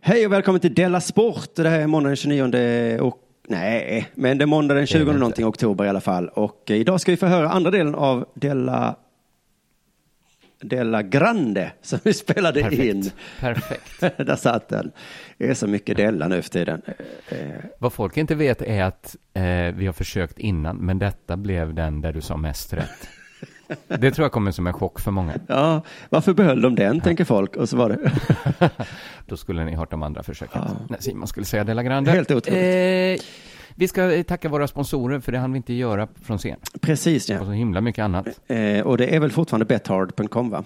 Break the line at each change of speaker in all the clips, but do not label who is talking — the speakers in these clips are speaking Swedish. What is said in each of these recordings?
Hej och välkommen till Della Sport. Det här är måndagen 29 och nej, men det är måndag den 20
inte.
någonting oktober i alla fall. Och eh, idag ska vi få höra andra delen av Della Della Grande som vi spelade in.
Perfekt. Perfekt.
Där satt den. Det är så mycket Della nu för tiden. Eh, eh,
Vad folk inte vet är att eh, vi har försökt innan, men detta blev den där du sa mest rätt. Det tror jag kommer som en chock för många.
Ja, varför behöll de den tänker folk och så var det
Då skulle ni hört de andra försöken. När Simon skulle säga Della Grande.
helt otroligt.
Eh, vi ska eh, tacka våra sponsorer, för det hann vi inte göra från scen.
Precis
Och
ja.
så himla mycket annat.
Eh, Och det är väl fortfarande bethard.com va?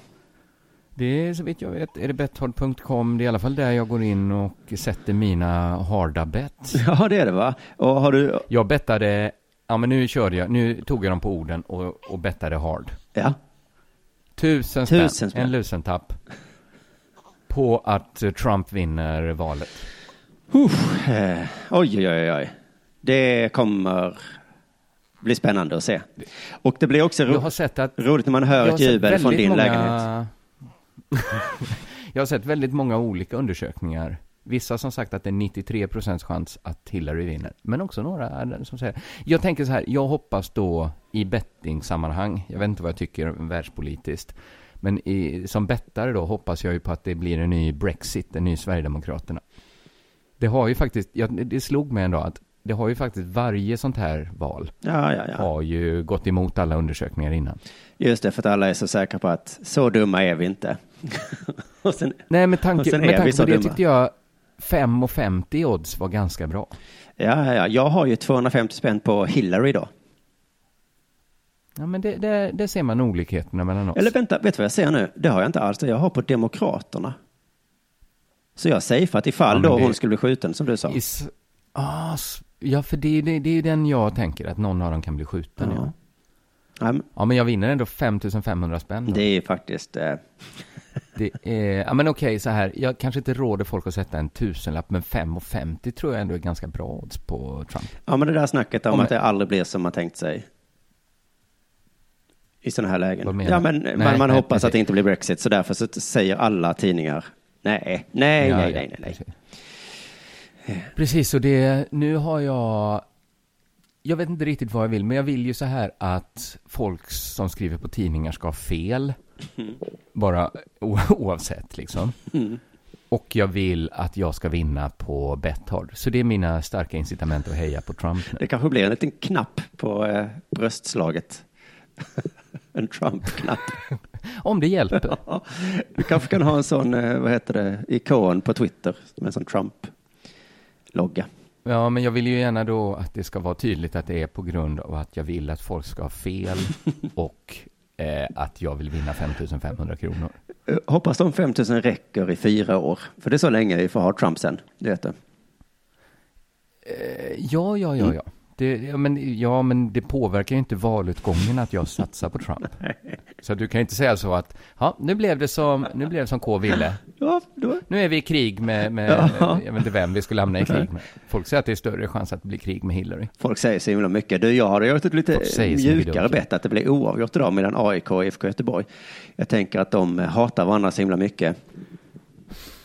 Det är så vitt jag vet, är det betthard.com, det är i alla fall där jag går in och sätter mina harda bett.
Ja, det är det va? Och har du,
Jag bettade, ja men nu körde jag, nu tog jag dem på orden och, och bettade hard.
ja,
Tusen spänn,
Tusen spänn.
en lusentapp. På att eh, Trump vinner valet.
Uff, eh, oj, oj, oj, oj. Det kommer bli spännande att se. Och det blir också
Jag
ro-
har sett att...
roligt när man hör
jag har
ett
sett
jubel från
väldigt
din
många-
lägenhet.
jag har sett väldigt många olika undersökningar. Vissa som sagt att det är 93% chans att Hillary vinner. Men också några som säger... Jag tänker så här, jag hoppas då i bettingsammanhang, jag vet inte vad jag tycker världspolitiskt, men i, som bettare då hoppas jag ju på att det blir en ny Brexit, en ny Sverigedemokraterna. Det har ju faktiskt, ja, det slog mig en dag att det har ju faktiskt varje sånt här val
Ja, ja, ja.
har ju gått emot alla undersökningar innan.
Just det, för att alla är så säkra på att så dumma är vi inte. och sen,
Nej, med
Och
tanke,
sen är
med
vi
tanke
så
på det
dumma.
tyckte jag 5,50 odds var ganska bra.
ja, ja, ja, jag har ju 250 spänn på Hillary då.
Ja, men det, det, det ser man olikheterna mellan oss.
Eller vänta, vet du vad jag säger nu? Det har jag inte alls. Jag har på Demokraterna. Så jag säger för att ifall
Ja, men
då
det-
hon skulle bli skjuten som du sa.
Is, ah, s- ja, för det, är- det, det är ju den jag tänker, att någon av dem kan bli skjuten. Ja,
Ja.
ja.
Ja, men
men jag vinner ändå 5500 spänn. då.
det är ju faktiskt... Eh,
Det är, ja, men okej, så här, jag kanske inte råder folk att sätta en tusenlapp, men 5,50 tror jag ändå är ganska bra odds på Trump.
Ja, men det där snacket om
Om-
att det aldrig blir som man tänkt sig. I sådana
Vad
här lägen.
menar
Ja,
du?
men
Nej,
man, man
nej,
hoppas att det
precis.
inte blir Brexit, så därför så säger alla tidningar nej, nej,
Ja,
nej,
ja,
nej, nej, nej.
precis.
Eh.
Precis, och det, nu har jag... Jag vet inte riktigt vad jag vill, men jag vill ju så här att folk som skriver på tidningar ska ha fel.
Mm.
Bara o- oavsett liksom.
Mm.
Och jag vill att jag ska vinna på Betthard. Så det är mina starka incitament att heja på Trump. nu.
Det kanske blir en liten knapp på eh, bröstslaget. en Trump-knapp.
Om det hjälper.
Ja, du kanske kan ha en sån, eh, vad heter det, ikon på Twitter, med en sån Trump-logga.
Ja, men jag vill ju gärna då att det ska vara tydligt att det är på grund av att jag vill att folk ska ha fel och eh, att jag vill vinna 5500 kronor.
Eh, Hoppas de 5000 räcker i fyra år, för det är så länge vi får ha Trump sen, det vet du.
Eh, Ja, ja,
Mm.
ja, ja. Det, ja, men, ja, men det påverkar ju inte valutgången att jag satsar på Trump. Så du kan ju inte säga så att, ja, nu blev det som, nu blev det som K ville.
Ja, då,
Nu är vi i krig med, med jag vet inte vem vi skulle hamna i krig med. Folk säger att det är större chans att bli krig med Hillary.
Folk säger så himla mycket. Du, jag hade gjort ett lite
Folk säger så mycket
mjukare
dumt.
bett att det blir oavgjort idag mellan AIK och IFK Göteborg. Jag tänker att de eh, hatar varandra så himla mycket.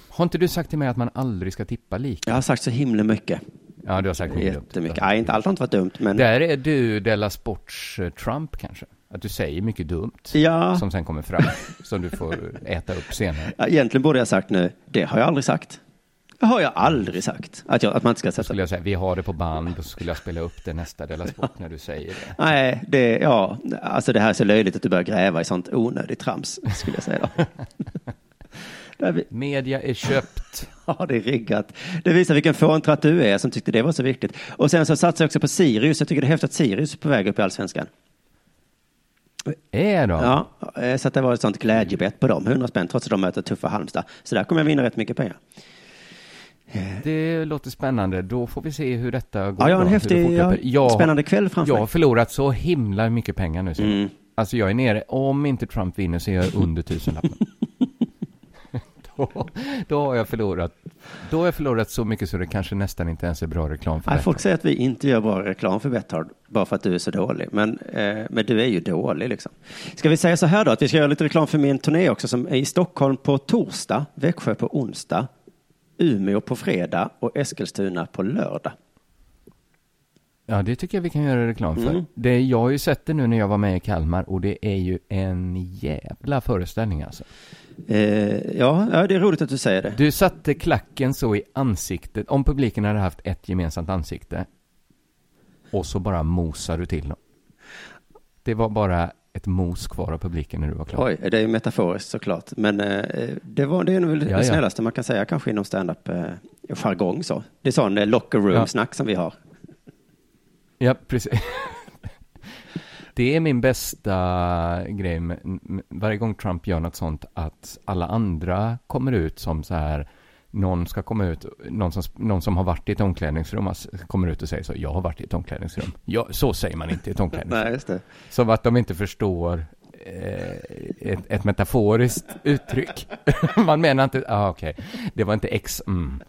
Har inte du sagt till mig att man aldrig ska tippa lika?
Jag har sagt så himla mycket.
Ja, du har sagt mycket dumt.
Jättemycket. Nej, inte allt har inte varit dumt, men
Där är du Della Sports eh, Trump kanske? Att du säger mycket dumt
Ja.
som sen kommer fram, som du får äta upp senare.
Ja, egentligen borde jag sagt nu, det har jag aldrig sagt. Det har jag aldrig sagt, att, jag, att man inte ska
Då
sätta...
skulle jag säga, vi har det på band och så skulle jag spela upp det nästa Della Sport när du säger det.
Nej, det, ja, alltså det här är så löjligt att du börjar gräva i sånt onödigt trams, skulle jag säga då. Där vi-
Media är köpt.
Ja, det är riggat. Det visar vilken fåntratt du är som tyckte det var så viktigt. Och sen så satsar jag också på Sirius. Jag tycker det är häftigt att Sirius är på väg upp i allsvenskan.
Är de?
Ja, eh, så att det var ett sånt glädjebett på dem. 100 spänn trots att de möter tuffa Halmstad. Så där kommer jag vinna rätt mycket pengar.
Det låter spännande. Då får vi se hur detta går.
Eh. Ja, jag har en
då, hur
häftig-
det fortlöper.
ja, spännande kväll framför
Jag
mig.
har förlorat så himla mycket pengar nu. Mm. Alltså jag är nere, om inte Trump vinner så är jag under tusenlappen. då, då har jag förlorat. Då har jag förlorat så mycket så det kanske nästan inte ens är bra reklam för
Nej,
det.
folk säger att vi inte gör bra reklam för Betthard bara för att du är så dålig. Men, eh, men du är ju dålig liksom. Ska vi säga så här då, att vi ska göra lite reklam för min turné också som är i Stockholm på torsdag, Växjö på onsdag, Umeå på fredag och Eskilstuna på lördag.
Ja, det tycker jag vi kan göra reklam för.
Mm.
Det, jag har ju sett det nu när jag var med i Kalmar och det är ju en jävla föreställning alltså.
Eh, ja, ja, det är roligt att du säger det.
Du satte klacken så i ansiktet, om publiken hade haft ett gemensamt ansikte och så bara mosar du till dem. Det var bara ett mos kvar av publiken när du var klar.
Oj, det är ju metaforiskt såklart. Men eh, det, var, det är nog väl
Ja, ja.
det snällaste man kan säga kanske inom standup eh, jargong så. Det är sån eh, locker room snack som vi har.
Ja, precis. Det är min bästa grej med, m- varje gång Trump gör något sånt att alla andra kommer ut som så här någon ska komma ut, någon som, någon som har varit i ett omklädningsrum ass- kommer ut och säger så, jag har varit i ett omklädningsrum. Ja, så säger man inte i ett omklädningsrum.
Nej, just det.
Som att de inte förstår eh, ett, ett metaforiskt uttryck. man menar inte, ah, okej, det var inte X, mm.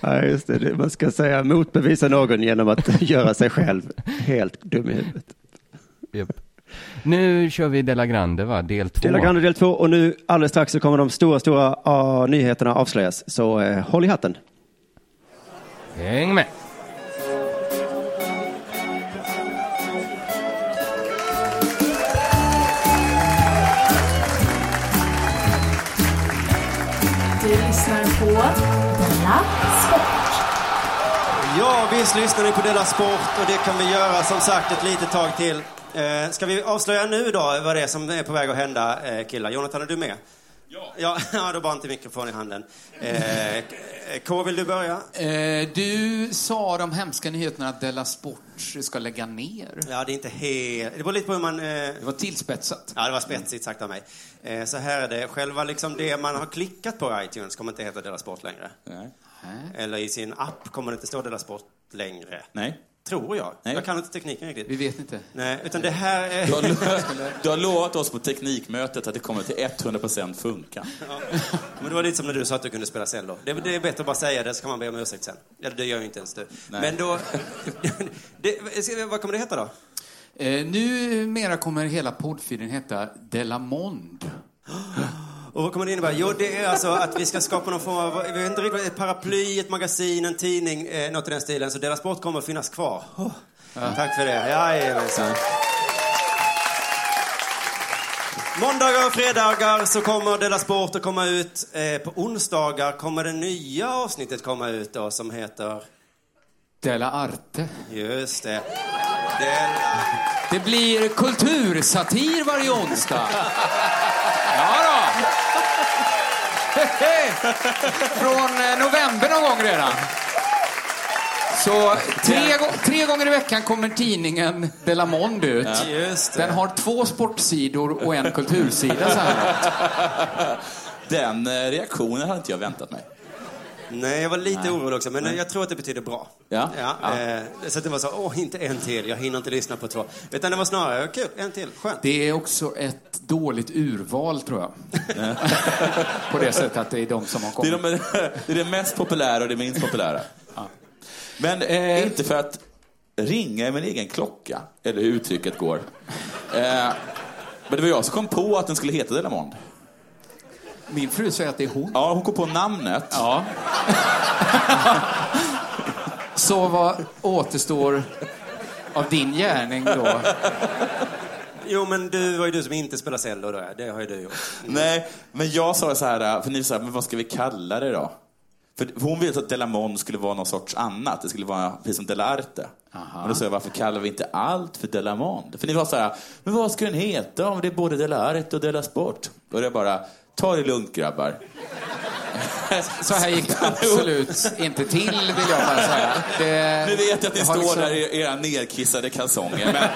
Ja, just det. Det- Man ska säga motbevisa någon genom att göra sig själv helt dum i huvudet.
Japp. Nu kör vi Della Grande va, del två.
Del Grande del två och nu alldeles strax så kommer de stora, stora ah, nyheterna avslöjas. Så eh, håll i hatten.
Häng med!
Du lyssnar på Della Sport.
Ja, visst lyssnar ni på Della Sport och det kan vi göra som sagt ett litet tag till. Eh, ska vi avslöja nu då vad det är som är på väg att hända eh, killar? Jonathan, är du med? Ja. Ja, då bara inte mikrofon i handen. Eh, K, vill du börja?
Eh, du sa de hemska nyheterna att Della Sport ska lägga ner.
Ja, det är inte helt... Det beror lite på hur man... Eh...
Det var tillspetsat.
Ja, det var spetsigt sagt av mig. Eh, så här är det. Själva liksom det man har klickat på i iTunes kommer inte heta Dela Sport längre.
Nej.
Eller i sin app kommer det inte stå Dela Sport längre.
Nej,
Tror jag.
Nej.
Jag kan inte tekniken riktigt.
Vi vet inte.
Nej, utan det här
du har,
är...
lo- du har lovat oss på teknikmötet att det kommer till 100% funka.
Men det var lite som när du sa att du kunde spela cello. Det, det är bättre att bara säga det, så kan man be om ursäkt sen. Eller det gör ju inte ens du. Men då... det, ska- vad kommer det heta då?
Eh, numera kommer hela poddfilen heta Della Mond.
Och vad kommer det innebära? Jo, det är alltså att vi ska skapa någon form av, vi vet inte riktigt, ett paraply, ett magasin, en tidning, eh, något i den stilen. Så deras sport kommer att finnas kvar. Oh. Tack för det. Jajamensan. Måndagar och fredagar så kommer Della Sport att komma ut. Eh, på onsdagar kommer det nya avsnittet komma ut då som heter...
Della Arte.
Just det. Della...
Det blir kultursatir varje onsdag. Ja då. Hehe. Från eh, november någon gång redan. Så tre, gå- tre gånger i veckan kommer tidningen Della Mond ut.
Just det.
Den har två sportsidor och en kultursida så här långt.
Den eh, reaktionen hade inte jag väntat mig.
Nej, jag var lite orolig också, men jag tror att det betyder bra.
Ja.
Eh, så att det var så, åh, inte en till, jag hinner inte lyssna på två. Utan det var snarare, kul, en till, skönt.
Det är också ett dåligt urval tror jag. På det sättet att det är de som har
Det
kommit.
är, de, eh, det är det mest populära och det minst populära. Men eh, inte för att ringa i min egen klocka, eller hur uttrycket går. Eh, men det var jag som kom på att den skulle heta Delamond.
Min fru säger att det är hon.
Ja, hon kom på namnet.
Ja. Så vad återstår av din gärning då?
Jo, men du var ju du som inte spelar cello då, det har ju du gjort. Mm.
Nej, men jag sa så här, för ni sa, men vad ska vi kalla det då? För hon ville att Delamond skulle vara någon sorts annat. Det skulle vara precis som Delarte.
Aha.
Men då sa jag, varför kallar vi inte allt för Delamond? För ni var så här, men vad ska den heta om det är både Delarte och Delasport? Då är det bara, ta det lugnt grabbar.
Så här gick det absolut inte till vill jag bara säga. Det,
Nu vet jag att ni
har
står
liksom-
där i era nerkissade kalsonger. Men,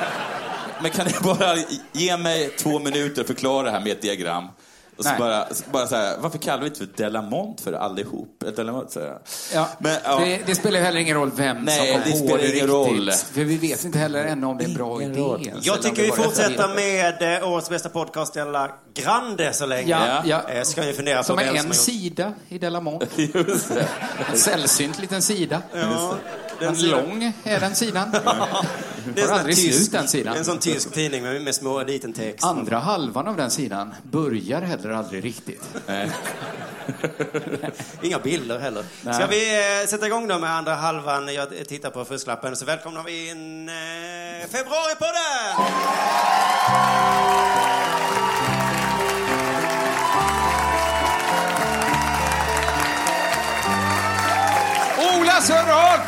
men kan ni bara ge mig två minuter och förklara det här med ett diagram? Och så
Nej.
bara, bara så här, varför kallar vi inte för Delamont för allihop? Eh, Delamont, så här.
Ja,
Men, ja.
Det, det spelar ju heller ingen roll vem
Nej,
som
det
kom på
spelar
det
ingen
riktigt.
roll.
För vi vet inte heller ännu om det är en bra idé. ens,
Jag
eller om
tycker
det
vi
bara är en
fortsätter
idé.
med eh, årets bästa podcast, Della Grande, så länge.
Ja, ja.
Eh, så kan vi fundera
Som
på
är
vem
en
som har gjort...
sida i Delamont.
Just det.
En sällsynt liten sida.
Ja,
Men
sidan-
lång är den sidan.
Det är en
Får
sån här
aldrig
tysk-
slut den sidan.
En sån tysk tidning med, med små, liten text.
Andra halvan av den sidan börjar heller aldrig riktigt.
Inga bilder heller. Ska vi eh, sätta igång då med andra halvan? Jag tittar på fusklappen. Så välkomnar vi in eh, Februaripodden!
Ola Sörhag!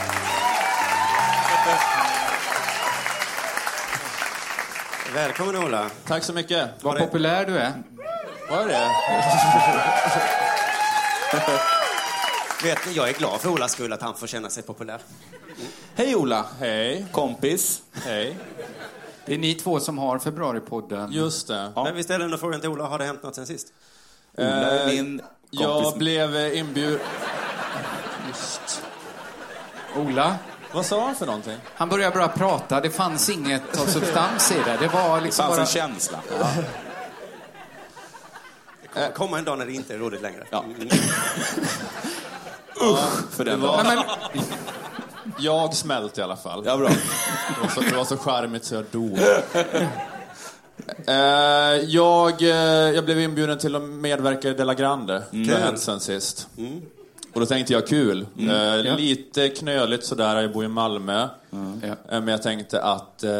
Välkommen Ola.
Tack så mycket.
Vad populär du är.
Var det?
Vet ni, jag är glad för Olas skull att han får känna sig populär.
Hej Ola!
Hej.
Kompis.
Hej.
Det är ni två som har Februaripodden.
Just det.
Men vi ställer ändå frågan till Ola, har det hänt något sen sist?
Ola är min
Jag
kompis.
blev eh, inbjuden... Just.
Ola,
Vad sa han för någonting?
han började bara prata. Det fanns inget av substans i det. Det var
Det
liksom
fanns
bara...
en känsla.
Kommer komma en dag när det inte är roligt längre.
Ja.
Mm.
För den
var-
dagen.
Nej, men,
Jag smälte i alla fall.
Ja, bra.
Det var så, det var så charmigt så jag dog. Eh, jag, eh, jag blev inbjuden till att medverka i Della Grande. Det har hänt sen sist. Och då tänkte jag kul. Eh,
Ja.
Lite knöligt sådär, jag bor i Malmö.
Ja.
Eh, Men jag tänkte att, eh,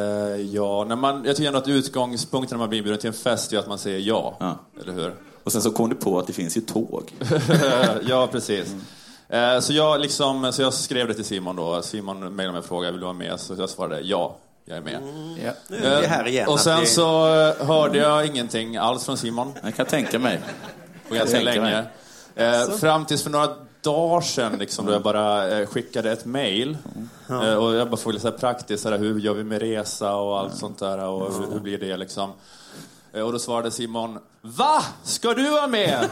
ja, när man, jag tycker ändå att utgångspunkten när man blir inbjuden till en fest är att man säger ja.
Ja.
Eller hur?
Och sen så kom du på att det finns ju tåg.
ja, precis. Eh, Så jag, liksom, så jag skrev det till Simon då. Simon mejlade mig och frågade vill du vara med. Så jag svarade ja, jag är med.
Mm.
ja.
Nu är vi här igen.
Och
att
sen
vi-
så eh, hörde jag ingenting alls från Simon
Jag kan tänka mig.
på ganska
tänker
länge. Eh, Fram tills för några dagar sedan liksom, då jag bara eh, skickade ett mejl.
Mm.
Eh, och jag bara frågade så här praktiskt, så här, hur gör vi med resa och
Mm.
allt sånt där och hur, hur blir det liksom. Eh, och då svarade Simon, VA? Ska du vara med?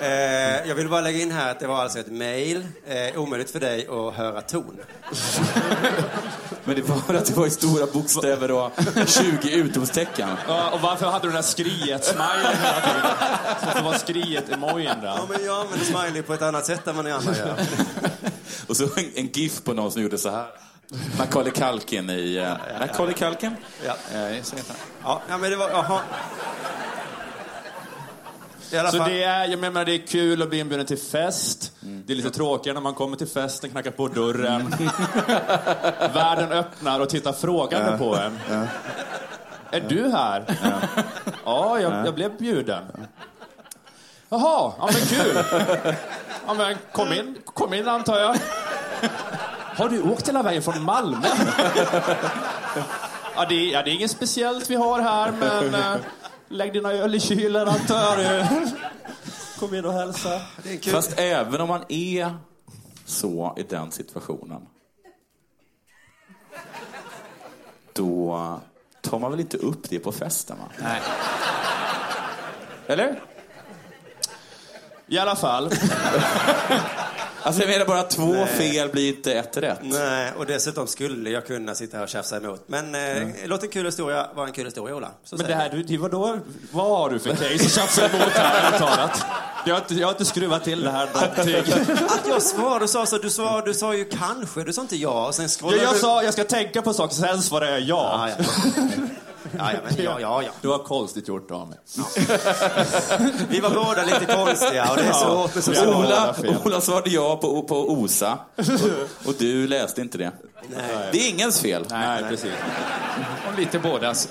Eh, jag vill bara lägga in här att det var alltså ett mejl. Eh, omöjligt för dig att höra ton.
Men det var att det var i stora bokstäver och 20 utropstecken.
Ja, och varför hade du den där skriet-smileyn hela tiden? Så att det var skriet-emojin där.
Ja, men jag använder smiley på ett annat sätt än vad ni andra gör.
Och så en, en GIF på någon som gjorde så här. Macaulay Culkin i... eh, Macaulay Culkin?
Ja,
Eh, så heter han.
ja ja, men det var... Aha. I alla
Så
fall,
det är, jag menar, det är kul att bli inbjuden till fest. Det är lite tråkigare när man kommer till festen, knackar på dörren. Världen öppnar och tittar frågande på en. Är du här? Ja, jag, jag blev bjuden. Jaha, ja men kul. Ja, men kom in, kom in antar jag. Har du åkt hela vägen från Malmö? Ja, det, är- ja, det är inget speciellt vi har här, men eh, lägg dina öl i kylen antar jag. du. Kom in och hälsa.
det är kul.
Fast även om man är så i den situationen. Då tar man väl inte upp det på festen va? Nej. Eller?
I alla fall.
Alltså jag menar bara två fel blir inte ett rätt.
Nej, och dessutom skulle jag kunna sitta här och tjafsa emot. Men eh,
Mm.
låt en kul historia vara en kul historia, Ola. Så
Men det
säger
här, du, det, vadå? Vad har du för case att tjafsa emot här ärligt talat? Jag har, inte, jag har inte skruvat till det här någonting.
jag. Att jag svarade, du sa så, du sa, du sa ju kanske, du sa inte ja, och sen
Jag,
scrollade
jag
du...
sa, jag ska tänka på saker, sen svarade jag ja.
Ah, Ja, ja. Ja, ja, men ja, ja, ja.
Det var konstigt gjort av mig.
Vi var båda lite konstiga och det är så...
det så
Ola, Ola svarade ja på, på OSA och, och du läste inte det. Det är ingens fel.
Nej, precis.
om lite
Alltså,
bådas.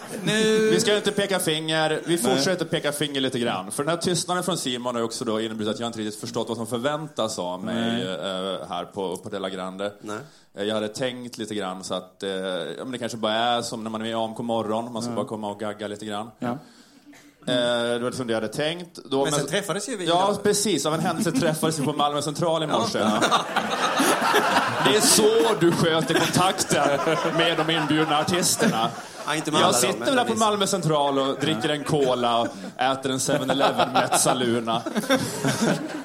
Vi ska ju inte peka finger. Vi fortsätter peka finger lite grann. För den här tystnaden från Simon har ju också då inneburit att jag inte riktigt förstått vad som förväntas av mig eh, här på, på Della Grande.
Nej.
Eh, Jag hade tänkt lite grann så att eh, ja, men det kanske bara är som när man är i AMK morgon. Man ska bara komma och gagga lite grann. Eh, det var liksom det jag hade tänkt. Då,
Men sen träffades ju vi.
Ja, precis. Av en händelse träffades vi på Malmö central i morse. Det är så du sköter kontakten med de inbjudna artisterna.
Ja, inte med alla
Jag
då,
sitter
men
väl här på
vissa.
Malmö central och dricker en cola och äter en 7-Eleven Mezzaluna.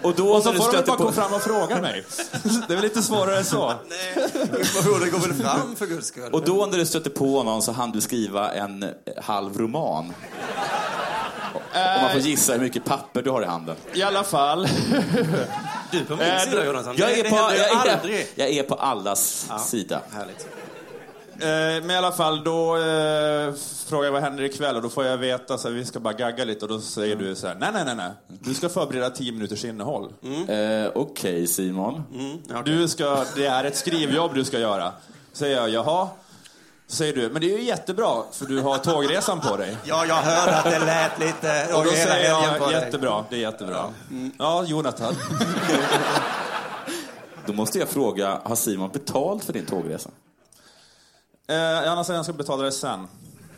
Och då
Och
när
så
du
får de
stöter
bara
på...
komma fram och fråga mig. Det är väl lite svårare än så.
Nej, informationen går väl fram för guds skull.
Och då när du stötte på någon så hann du skriva en eh, halv roman. Och man får gissa hur mycket papper du har i handen.
I alla fall.
du på min
eh,
sida,
då-
Jonathan.
Jag
Det-
är
det
på,
händer ju
jag är,
aldrig.
jag är på allas sida.
Härligt.
Eh, men i alla fall, då eh, frågar jag vad händer ikväll och då får jag veta så här, vi ska bara gagga lite och då säger du så här, nej, nej, nej, nej. Du ska förbereda tio minuters innehåll.
Mm.
Eh, Okej, Simon. Du ska, det är ett skrivjobb du ska göra. Säger jag, jaha? Säger du, men det är ju jättebra för du har tågresan på dig.
Ja, jag hörde att det lät lite...
Och då
hela
säger
helgen på
jag,
dig.
jättebra, det är jättebra. Ja, Jonathan.
Då måste jag fråga, har Simon betalt för din tågresa?
Eh, annars säger jag ska betala det sen.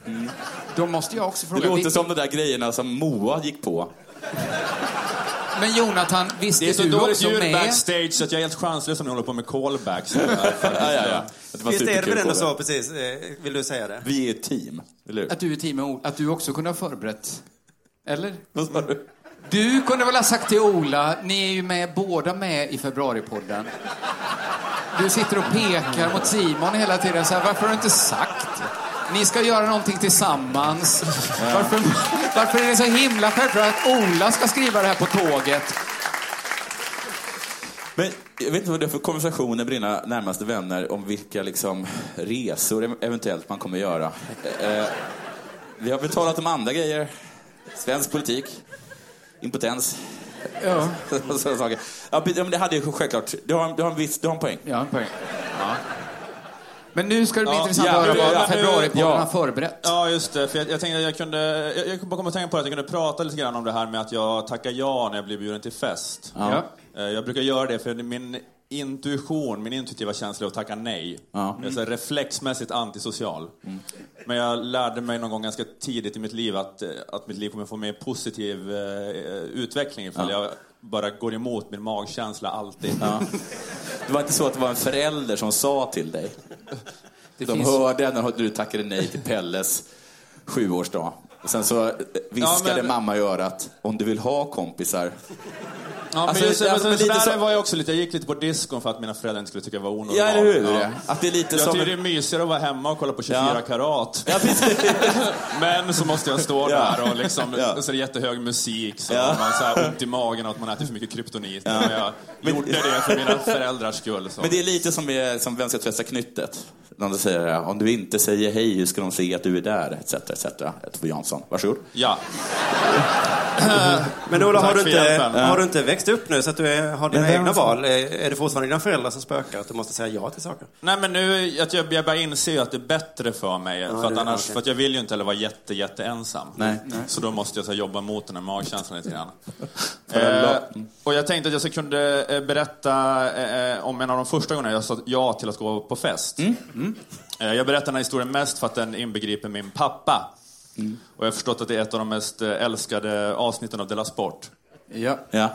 Mm. Då måste jag också
Det
fråga.
låter
vi-
som de där grejerna som Moa gick på.
Men Jonathan, visste
Det är så
du
dåligt
också
ljud
med?
backstage så att jag är helt chanslös när ni håller på med callbacks.
Ja, ja, ja. Att det var
Visst är det
superkul
väl ändå
på det.
så, precis? Eh, Vill du säga det?
Vi är ett team, eller hur?
Att du är team med O- att du också kunde ha förberett? Eller?
Vad sa du?
Du kunde väl ha sagt till Ola, ni är ju med, båda med i februaripodden. Du sitter och pekar mot Simon hela tiden så här, varför har du inte sagt? Ni ska göra någonting tillsammans. Varför, varför är det så himla självklart att Ola ska skriva det här på tåget?
Men jag vet inte vad det är för konversationer med dina närmaste vänner om vilka liksom, resor ev- eventuellt man kommer göra. Eh, vi har betalat om andra grejer. Svensk politik. Impotens.
Ja,
Sådana saker. Ja, men det hade ju självklart. Du har, en- du har en viss, du har en poäng.
ja en poäng. Men nu ska det bli
Ja,
intressant
ja,
att höra
nu-
vad
ja, nu-
februaripodden
ja.
har förberett.
Ja, just det. För jag, jag tänkte att jag kunde... Jag, jag kom att tänka på att jag kunde prata lite grann om det här med att jag tackar ja när jag blir bjuden till fest.
Ja.
Eh, Jag brukar göra det för min intuition, min intuitiva känsla är att tacka nej.
Ja.
Jag är så här reflexmässigt antisocial.
Mm.
Men jag lärde mig någon gång ganska tidigt i mitt liv att, eh, att mitt liv kommer få mer positiv eh, utveckling ifall jag bara går emot min magkänsla alltid.
Det var inte så att det var en förälder som sa till dig.
Det
De
finns-
hörde när du tackade nej till Pelles sjuårsdag. Och Sen så eh, viskade
Ja, men-
mamma i örat, om du vill ha kompisar.
Ja,
Alltså,
men just,
alltså,
men,
men lite
där
så-
var jag också lite, jag gick lite på diskon för att mina föräldrar inte skulle tycka jag var onormal.
Ja, eller hur?
Ja.
Att det är lite
Jag
som...
tycker det är mysigare att vara hemma och kolla på 24
Ja.
karat.
Ja, precis.
Men så måste jag stå
Ja.
där och liksom,
Ja.
och så är det jättehög musik, så
Ja.
har man så här ont i magen och att man äter för mycket kryptonit. Men jag
Men-
gjorde det för mina föräldrars skull. Så.
Men det är lite som, med, som Vem ska tvätta knyttet? När de säger det här, om du inte säger hej, hur ska de se att du är där? Etc, etc. Tove Jansson, varsågod.
Ja.
Eh, Men Ola, har
Tack
du,
för
inte,
hjälpen.
har du inte växt upp nu så att du är, har dina
vem
egna
som-
val? Är, är det fortfarande dina föräldrar som spökar? Att du måste säga ja till saker?
Nej men nu, att jag, jag bara inser ju att det är bättre för mig. för, att
det-
annars,
okej.
för att jag vill ju inte heller vara jätte, jätte ensam.
Nej.
Så då måste jag så här, jobba mot den här magkänslan lite grann.
Förälder.
eh, och jag tänkte att jag så kunde eh, berätta eh, eh, om en av de första gångerna jag sa ja till att gå på fest. Eh, jag berättar den här historien mest för att den inbegriper min pappa. Och jag har förstått att det är ett av de mest eh, älskade avsnitten av Della Sport.
Ja.
Ja.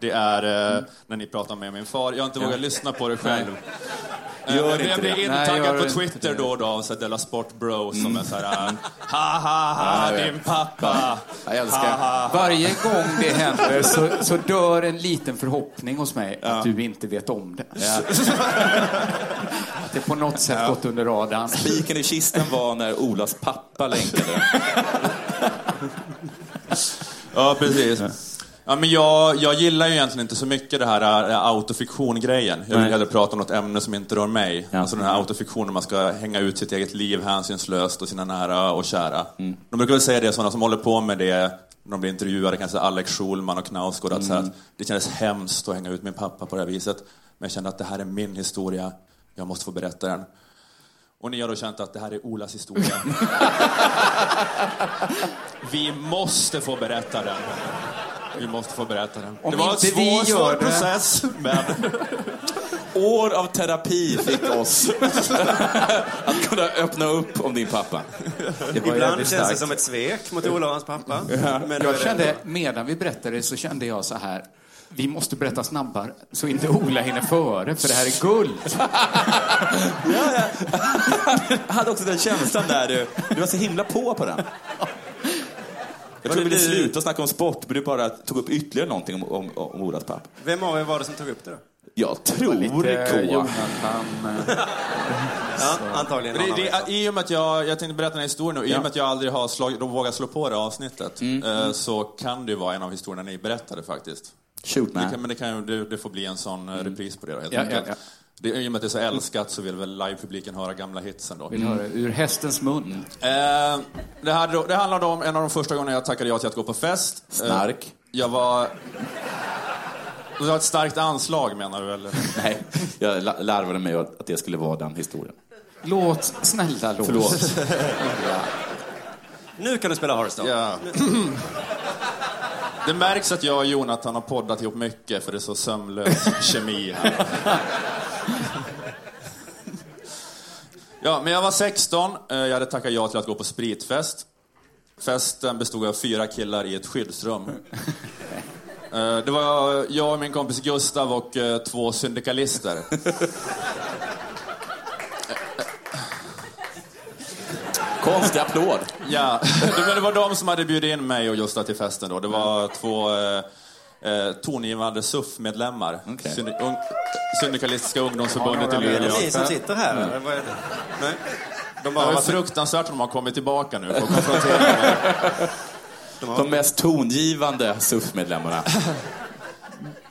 Det är eh, när ni pratar med min far. Jag har inte vågat lyssna på det själv. Eh,
Gör
men
inte
jag blir
det.
Nej,
intaggad
gör
på
inte
Twitter
det. Mm.
då och då av så här Della Sport Bro som är så här... eh, Ha, ha, ha,
Ja, jag vet.
din pappa.
Jag älskar.
Varje gång det händer så, så dör en liten förhoppning hos mig att du inte vet om det. Att det på något sätt gått under radarn.
Spiken i kistan var när Olas pappa länkade.
Ja, precis. Ja, men jag, jag gillar ju egentligen inte så mycket det här eh, autofiktion-grejen. Jag vill
Nej.
hellre prata om något ämne som inte rör mig.
Ja.
Alltså den här autofiktionen, man ska hänga ut sitt eget liv hänsynslöst och sina nära och kära.
Mm.
De brukar väl säga det, sådana som håller på med det, när de blir intervjuade, kanske Alex Schulman och Knausgård, att, så
Mm.
här, att det kändes hemskt att hänga ut min pappa på det här viset. Men jag kände att det här är min historia, jag måste få berätta den. Och ni har då känt att det här är Olas historia. Vi måste få berätta den. Vi måste få berätta den.
Om
det var en
inte
svår,
vi
svår
gör det-
process, men...
År av terapi fick oss att kunna öppna upp om din pappa. Det var
Ibland
jävligt
känns det
starkt.
som ett svek mot Ola och hans pappa. Men då är
Mm. Jag
det-
kände, medan vi berättade så kände jag så här. Vi måste berätta snabbare så inte Ola hinner före för det här är guld.
Jag hade också den känslan där du, du var så himla på på den. Jag trodde vi
det
ville
du-
sluta snacka om sport, men du bara tog upp ytterligare någonting om, om, om Olas pappa.
Vem av er var det som tog upp det då?
Jag tror K.
eh. Ja, antagligen
Det,
någon av er.
det, I och med att jag, jag tänkte berätta den här historien nu, i och med att jag aldrig har slag, vågat slå på det avsnittet,
Mm.
eh, så kan det ju vara en av historierna ni berättade faktiskt.
Shoot
Det
man.
kan, men det, kan, ju- det, det får bli en sån eh, repris på det då, helt
Mm. Ja,
enkelt.
ja,
Det, I och med att det är så älskat så vill väl livepubliken höra gamla hitsen då.
Vill höra ur hästens mun.
Eh, det, här, då- det handlade om en av de första gångerna jag tackade ja till att gå på fest. Eh,
Snark.
jag var... Du har ett starkt anslag menar du eller?
Nej, jag la- larvade mig att det skulle vara den historien.
Låt, snälla låt.
Förlåt.
Nu kan du spela Hearthstone.
Ja. Det märks att jag och Jonathan har poddat ihop mycket för det är så sömlös kemi här. Ja, men jag var 16. eh, Jag hade tackat ja till att gå på spritfest. Festen bestod av fyra killar i ett skyddsrum. Eh, Det var jag och min kompis Gustav och eh, två syndikalister.
Konstig applåd.
Ja, men det var de som hade bjudit in mig och Gösta till festen då. Det var två eh, eh, tongivande SUF-medlemmar.
Okej.
Syndi- un- Syndikalistiska ungdomsförbundet i
Det är
Luleå. Mm.
det ni som sitter här. eller? Vad är det? Nej. De
Det
bara,
var fruktansvärt att de har kommit tillbaka nu för att konfrontera mig.
De mest tongivande SUF-medlemmarna.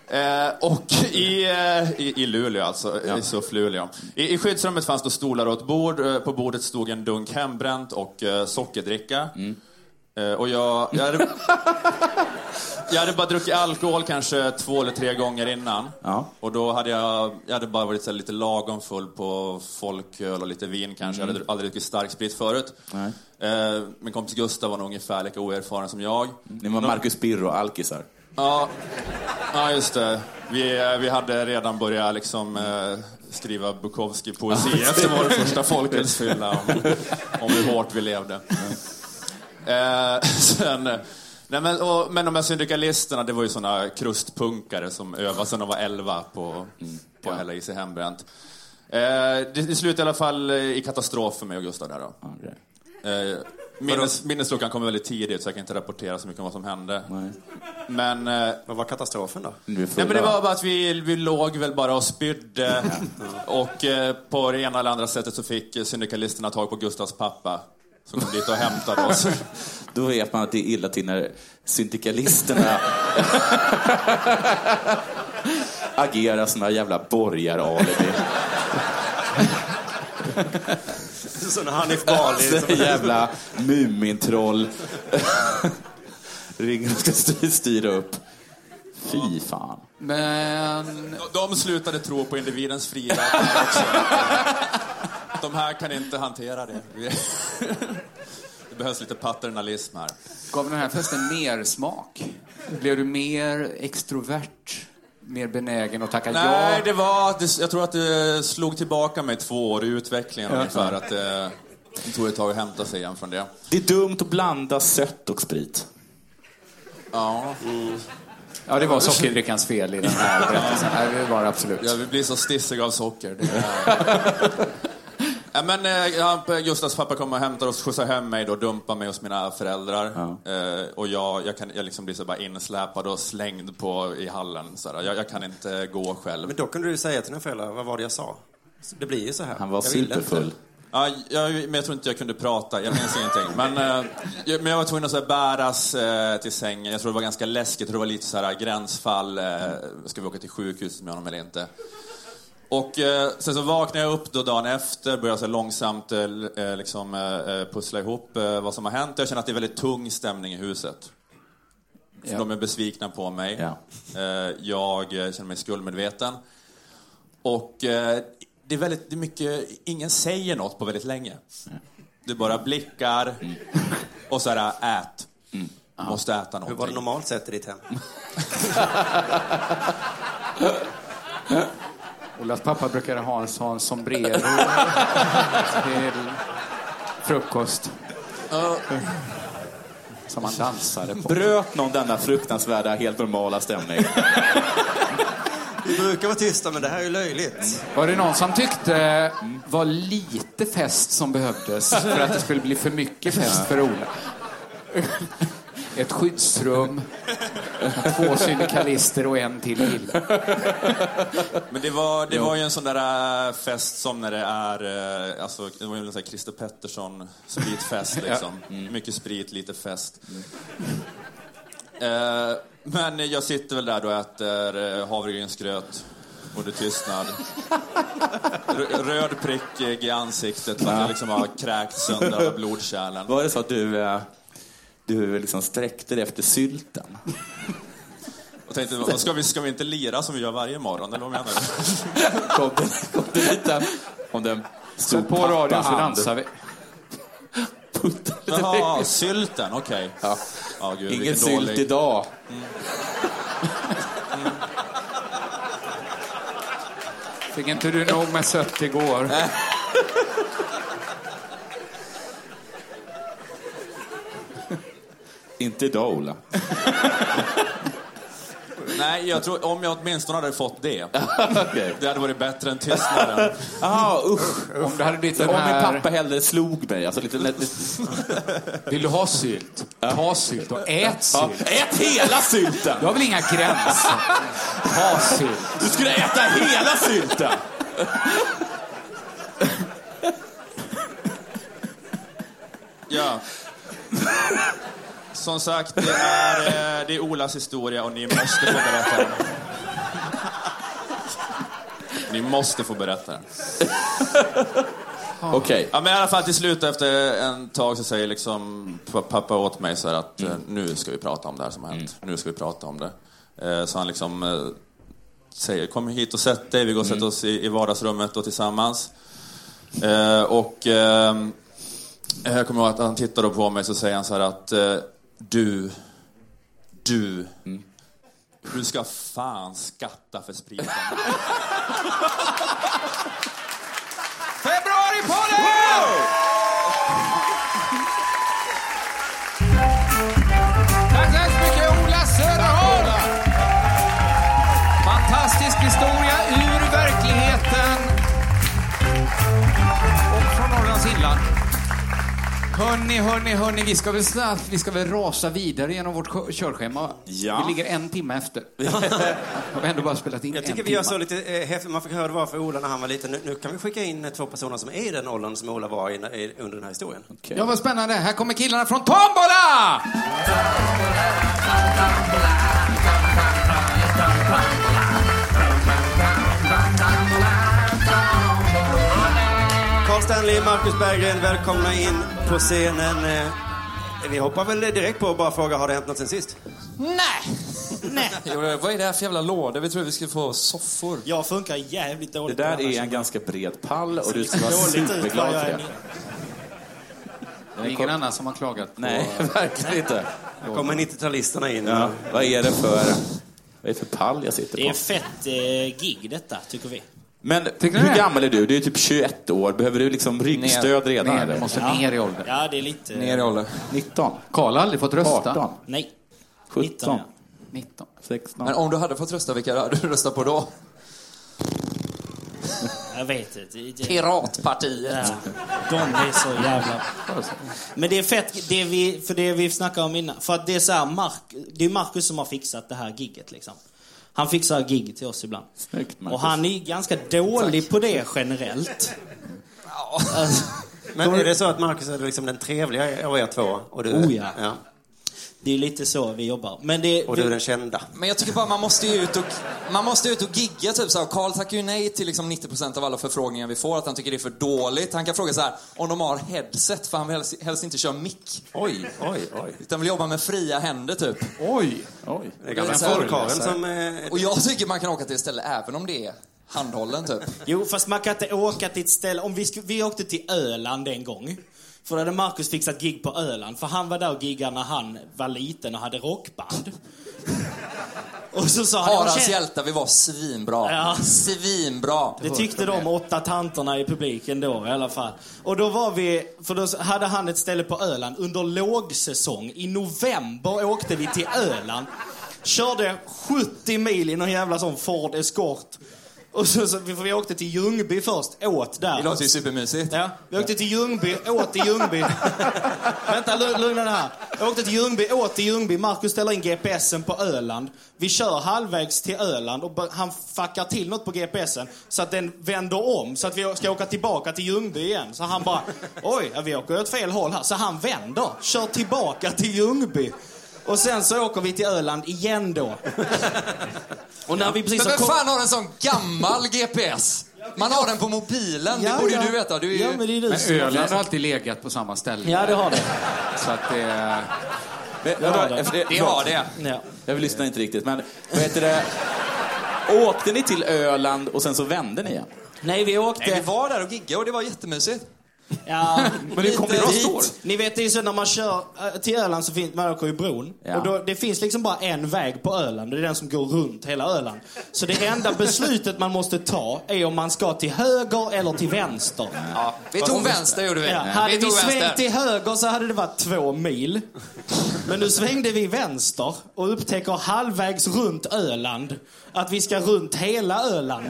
Eh, och i, eh, i, i Luleå alltså, i SUF Luleå. I, I skyddsrummet fanns då stolar och ett bord. Eh, På bordet stod en dunk hembränt och eh, sockerdricka.
Mm.
Eh, och jag, jag, hade, jag hade bara druckit alkohol kanske två eller tre gånger innan.
Ja.
Och då hade jag, jag hade bara varit så här, lite lagom full på folköl och lite vin kanske. Jag
Mm.
hade aldrig druckit starksprit förut. Eh, min kompis Gustav var nog ungefär lika oerfaren som jag.
Mm. Ni var Marcus Birro-alkisar.
Ja, ja just det. Vi, eh, vi hade redan börjat liksom, eh, skriva Bukowski-poesi efter vår första folkölsfylla om, om hur hårt vi levde. Eh, sen, eh, nej men, och, men de här syndikalisterna, det var ju såna krustpunkare som övade sedan de var elva på, på att hälla i sig hembränt. Eh, det, det slutade i alla fall eh, i katastrof för mig och Gustav där då. Eh, minnes, minnesluckan kom väldigt tidigt så jag kan inte rapportera så mycket om vad som hände. Men, eh,
vad var katastrofen då?
Nu är vi
nej, men det
fulla.
var bara att vi, vi låg väl bara och spydde. och eh, på det ena eller andra sättet så fick eh, syndikalisterna tag på Gustavs pappa. Som kom dit och hämtade oss.
Då vet man att det är illa till när syndikalisterna agerar såna jävla borgaralibi.
Sån Hanif Bali.
Alltså,
som-
jävla Mumintroll. Ringer och ska styr- styra upp. Fy fan.
Men...
De slutade tro på individens fria vilja också. De här kan inte hantera det. Det behövs lite paternalism här.
Gav den här festen mer smak? Blev du mer extrovert? Mer benägen att tacka
Nej,
ja?
det var, det, jag tror att det slog tillbaka mig två år i utvecklingen ungefär. Att det, det tog ett tag att hämta sig igen från det.
Det är dumt att blanda sött och sprit.
Ja, det var sockerdrickans fel i den här berättelsen. Nej, det var det absolut.
Jag blir så stissig av socker. Det är- Ja, men, eh, ja, Gustavs pappa kommer och hämtar oss, skjutsar hem mig då, dumpar mig hos mina föräldrar. Eh, och jag, jag, kan, jag liksom blir så bara insläpad och slängd på, i hallen. Så här. Jag, jag kan inte gå själv.
Men då kunde du ju säga till dina föräldrar, vad var det jag sa? Så Det blir ju så här.
Han var
Jag ville inte.
superfull.
Ja, jag, men jag tror inte jag kunde prata, jag minns ingenting. Men, eh, jag, men jag var tvungen att så här, bäras eh, till sängen. Jag tror det var ganska läskigt, jag tror det var lite så här gränsfall. Eh, ska vi åka till sjukhuset med honom eller inte? Och eh, sen så vaknade jag upp då dagen efter, började så här långsamt eh, l- eh, liksom, eh, eh, pussla ihop eh, vad som har hänt. Jag känner att det är väldigt tung stämning i huset. För De är besvikna på mig.
Ja.
Eh, jag eh, känner mig skuldmedveten. Och eh, det är väldigt det är mycket, ingen säger något på väldigt länge. Det är bara blickar och så här, ät. Måste äta någonting.
Hur var det normalt sett i ditt hem?
Olas pappa brukade ha en sån sombrero till frukost. Som han dansade på.
Bröt någon denna fruktansvärda, helt normala stämning?
Vi brukar vara tysta, men det här är ju löjligt.
Var det någon som tyckte mm, var lite fest som behövdes för att det skulle bli för mycket fest för Ola? Ett skyddsrum, två syndikalister och en till kille.
Men det var, det var ju en sån där äh, fest som när det är, äh, alltså, det var ju en sån här Christer Pettersson spritfest liksom. Mycket sprit, lite fest. Eh, men jag sitter väl där då och äter äh, havregrynsgröt äh, Både tystnad. Rö- Röd prick eh, i ansiktet. Man kan liksom ha kräkt sönder av blodkärlen.
Var det så att du, eh, du liksom sträckte dig efter sylten?
Och tänkte, vad ska vi, ska vi inte lira som vi gör varje morgon? Eller vad menar du?
Kom det, kom det lite om den stod
Sätt på radion
Ah.
så dansar vi.
Puttade lite
Jaha,
mer.
sylten, okej.
Ja.
Ja, gud,
Ingen
vilken
sylt
dålig-
idag.
Fick inte du nog med sött igår?
Inte idag, Ola.
Nej, jag tror om jag åtminstone hade fått det.
Okej.
Det hade varit bättre än tystnaden.
Jaha, usch.
Om du hade blivit den
Om min
Ah, här...
pappa hellre slog mig. Alltså lite, lite,
Vill du ha sylt? Ta sylt och ät
ja.
sylt.
Ät hela sylten!
Jag har väl inga gränser. Ta sylt.
Du skulle äta hela sylten!
Ja. Som sagt, det är, eh, det är Olas historia och ni måste få berätta den. Ni måste få berätta den.
Okej.
Ja, men i alla fall till slut efter en tag så säger liksom p- pappa åt mig så här att eh, nu ska vi prata om det här som har hänt. Nu ska vi prata om det. Eh, Så han liksom eh, säger kom hit och sätt dig. Vi går och sätter oss i i vardagsrummet då tillsammans. Eh, Och ehm, eh, jag kommer ihåg att han tittar då på mig så säger han så här att eh, du, du, du ska fan skatta för spriten.
Februaripodden! Tack så hemskt mycket Ola Söderholm! Fantastisk historia ur verkligheten och från Norrlands inland. Hörni, hörni, hörni, vi ska väl snabbt, vi ska väl rasa vidare genom vårt kö- körschema. va?
Ja.
Vi ligger en timme efter. Har vi ändå bara spelat in
Jag
en
tycker vi
timme.
gör så lite eh, häftigt. Man fick höra det var för Ola när han var liten. Nu, nu kan vi skicka in eh, två personer som är i den åldern som Ola var i, i, under den här historien.
Ja, vad spännande. Här kommer killarna från Tombola!
Carl Stanley, Marcus Berggren, välkomna in på scenen. Eh, Vi hoppar väl direkt på och bara fråga, har det hänt något sen sist?
Nej!
Vad är det här för jävla låda? Vi trodde vi skulle få soffor. Jag funkar jävligt
Det
dåligt.
där
på
är
här.
en ganska bred pall och du ska vara
Dåligt ut vad
superglad
jag
för
än-
det.
Det är ingen annan som har klagat på...
Nej, verkligen inte.
Här kommer 90-talisterna in.
Ja, vad är det för... Vad är det för pall jag sitter
Det är
på?
fett eh, gig detta, tycker vi.
Men
Tycker du
hur
det?
gammal är du? Du är typ 21 år. Behöver du liksom ryggstöd redan?
ner,
eller?
måste ner i ålder.
Ja, det är lite...
Ner i ålder. 19?
Karl har aldrig fått rösta.
18?
Nej.
17?
19.
16?
Men om du hade fått rösta, vilka hade du röstat på då?
Jag vet inte. Det- det-
Piratpartiet.
Ja, de är så jävla... Men det är fett, det vi, för det vi snackade om innan. För att det är så här, Mark, det är Marcus som har fixat det här gigget liksom. Han fixar gig till oss ibland.
Snyggt, Marcus.
Och han är ganska dålig på det generellt. Alltså,
Men är det så att Marcus är liksom den trevliga av er två? Och du,
Oh, ja. det är lite så vi jobbar. Men det...
Och du är den kända?
Men jag tycker bara man måste ju ut och, man måste ut och gigga typ så här. Och Carl tackar ju nej till liksom 90% av alla förfrågningar vi får, att han tycker det är för dåligt. Han kan fråga så här om de har headset, för han vill helst, helst inte köra mick.
Oj, oj, oj.
Utan vill jobba med fria händer typ.
Oj!
oj.
Det är gamla
Så här-
folkaren som... eh,
Och jag tycker man kan åka till ett ställe även om det är handhållen typ.
Jo, fast man kan inte åka till ett ställe. Om vi, sku- vi åkte till Öland en gång. För då hade Marcus fixat gig på Öland. För han var där och giggade när han var liten och hade rockband. Och så sa han... "Jag
Haralds
känner-
hjältar, vi var svinbra.
Ja.
Svinbra.
Det tyckte de åtta tanterna i publiken då i alla fall. Och då var vi, för då hade han ett ställe på Öland under lågsäsong. I november åkte vi till Öland. Körde 70 mil i någon jävla sån Ford Escort. Och så, så, för vi åkte till Ljungby först, åt där.
Det låter ju supermysigt.
Ja, vi åkte till Ljungby, åt i Ljungby. Vänta, lu- lugna dig här. Jag åkte till Ljungby, åt i Ljungby. Marcus ställer in GPSen på Öland. Vi kör halvvägs till Öland och bör- han fuckar till något på GPSen så att den vänder om. Så att vi ska åka tillbaka till Ljungby igen. Så han bara, oj, ja, vi åker åt fel håll här. Så han vänder, kör tillbaka till Ljungby. Och sen så åker vi till Öland igen då. Och när vi precis
Men
har kom-
vem fan har en sån gammal GPS? Man har den på mobilen, det
Ja,
borde ju
ja.
du veta. Du är ju...
Ja, men det är du
Men
som-
Öland har alltid legat på samma ställe.
Ja, det har det.
Så att eh, det...
Men,
har
vänta,
det.
Eh,
för
Det har det.
Ja.
Jag lyssnar inte riktigt, men vad heter det? Åkte ni till Öland och sen så vände ni igen?
Nej, vi åkte...
Nej, vi var där och giggade och det var jättemysigt.
Ja,
Men hur kom
Lite
ni då
hit.
står?
Ni vet, det är så när man kör eh, till Öland så finns, man åker ju bron.
Ja.
Och då, det finns liksom bara en väg på Öland och det är den som går runt hela Öland. Så det enda beslutet man måste ta är om man ska till höger eller till vänster.
Ja, vi tog vänster gjorde vi.
Ja, hade vi
vi tog
svängt
vänster.
till höger så hade det varit två mil. Men nu svängde vi vänster och upptäcker halvvägs runt Öland att vi ska runt hela Öland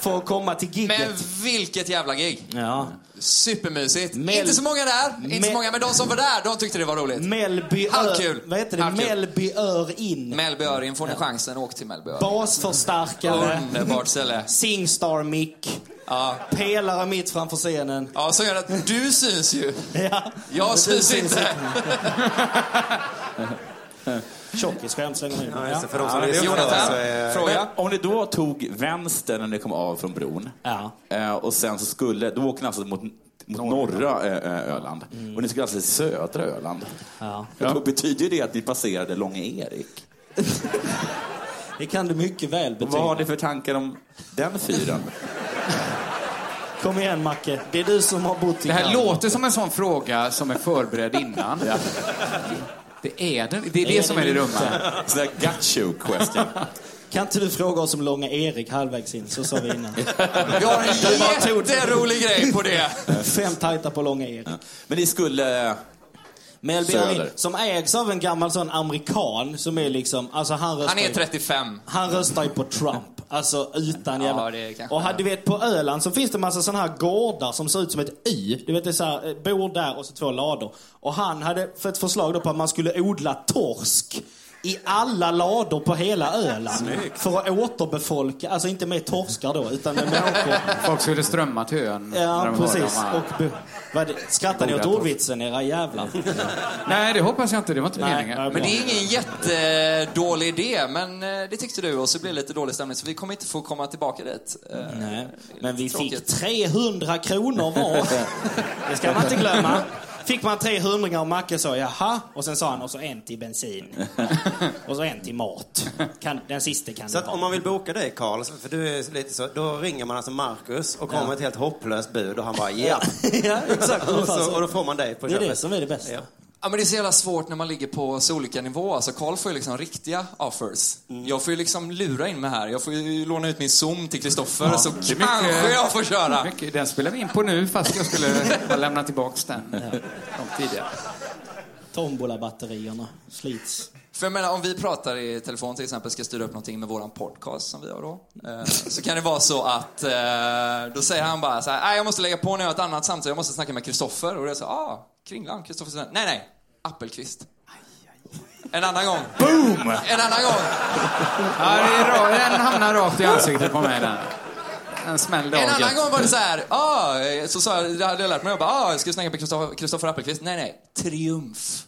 för att komma till gigget.
Men vilket jävla gig.
Ja.
Supermysigt.
Mel-
Inte så många där, inte
Mel-
så många, men de som var där, de tyckte det var roligt.
Mellby
Halvkul.
Ör... Vad heter det?
Halvkul.
Mellby Ör in.
Mellby Öring, får ni chansen, åk till Mellby Öring.
Basförstärkare.
Underbart ställe.
Singstar-mick.
Ja.
Pelare mitt framför scenen.
ja, som gör att du syns ju.
Ja.
Jag syns inte.
Tjockisskämt slänger man in.
Ja, just det,
Ja.
för de som lyssnar då,
Jonathan,
så är...
fråga.
Om ni då tog vänster när ni kom av från bron
Ja.
eh, och sen så skulle, då åker ni alltså mot, mot norra eh, eh, Öland och ni skulle alltså till södra Öland.
Mm. Ja.
Då betyder ju det att ni passerade Långe Erik.
Det kan du mycket väl
Vad har
betyda.
ni för tankar om den fyren?
Kom igen Macke, det är du som har bott i
Det här
Kalmar.
låter som en sån fråga som är förberedd innan. Det är det, det, är det som är det dumma.
Sån där gacho question.
Kan inte du fråga oss om Långa Erik halvvägs in? Så sa vi innan.
Vi har en jätterolig grej på det.
Eh, Fem tajta på Långa Erik.
Men ni skulle... eh,
Melby
Söder.
Örin, som ägs av en gammal sån amerikan som är liksom, alltså han röstar
Han är
ju-
35.
Han röstar ju på Trump. Alltså utan jävla...
Ja, det kanske
och
han
här, du vet på Öland så finns det massa sådana här gårdar som ser ut som ett Y. Du vet det är så här, eh, bor där och så två lador. Och han hade för ett förslag då på att man skulle odla torsk i alla lador på hela Öland. För att återbefolka, alltså inte med torskar då utan med människor.
Folk skulle strömma till ön. när
Ja,
de hörde
precis.
om han-
Och bo... Vad är det? Skrattar ni åt
Odla
ordvitsen era jävlar?
Nej, det hoppas jag inte. Det var inte
Nej,
meningen.
nej,
Men det är ingen jättedålig idé, men eh, det tyckte du och så blev det lite dålig stämning så vi kommer inte få komma tillbaka dit. Eh,
Nej, men vi fick
Tråkigt.
300 kronor var. Det ska man inte glömma. Fick man 300 och Macke sa jaha, och sen sa han och så en till bensin. Och så en till mat. Kan, den sista kan
Så
du
att om
ha.
man vill boka dig Karl, för du är lite så, då ringer man alltså Marcus och kommer med ett helt hopplöst bud och han bara ja.
ja, exakt.
Och, så, och då får man dig på
Det är det
köpet.
som är det bästa.
Ja.
Ja, men det är så jävla svårt när man ligger på så olika nivåer. Alltså, Carl får ju liksom riktiga offers.
Mm.
Jag får ju liksom lura in mig här. Jag får ju låna ut min Zoom till Kristoffer, så kanske jag får köra.
Mycket, den spelar vi in på nu fast jag skulle ha lämnat tillbaks den eh, långt tidigare.
Tombola-batterierna slits.
För jag menar, om vi pratar i telefon till exempel, ska styra upp någonting med våran podcast som vi har då. Eh, så kan det vara så att eh, då säger han bara så här, nej jag måste lägga på när jag har ett annat samtal, jag måste snacka med Kristoffer. Och det är så, ah, Kringlan, Kristoffer Sundell. Nej, nej, Appelqvist. En annan gång. Boom! En annan gång.
Ja, det är ra- den hamnar rakt i ansiktet på mig den. Den smällde
En
av
annan
gött.
gång var det så här, ah, eh, så sa jag, det hade jag lärt mig, jag bara, ah, jag ska snacka med Kristoffer- Kristoffer Appelqvist. Nej, nej, triumf.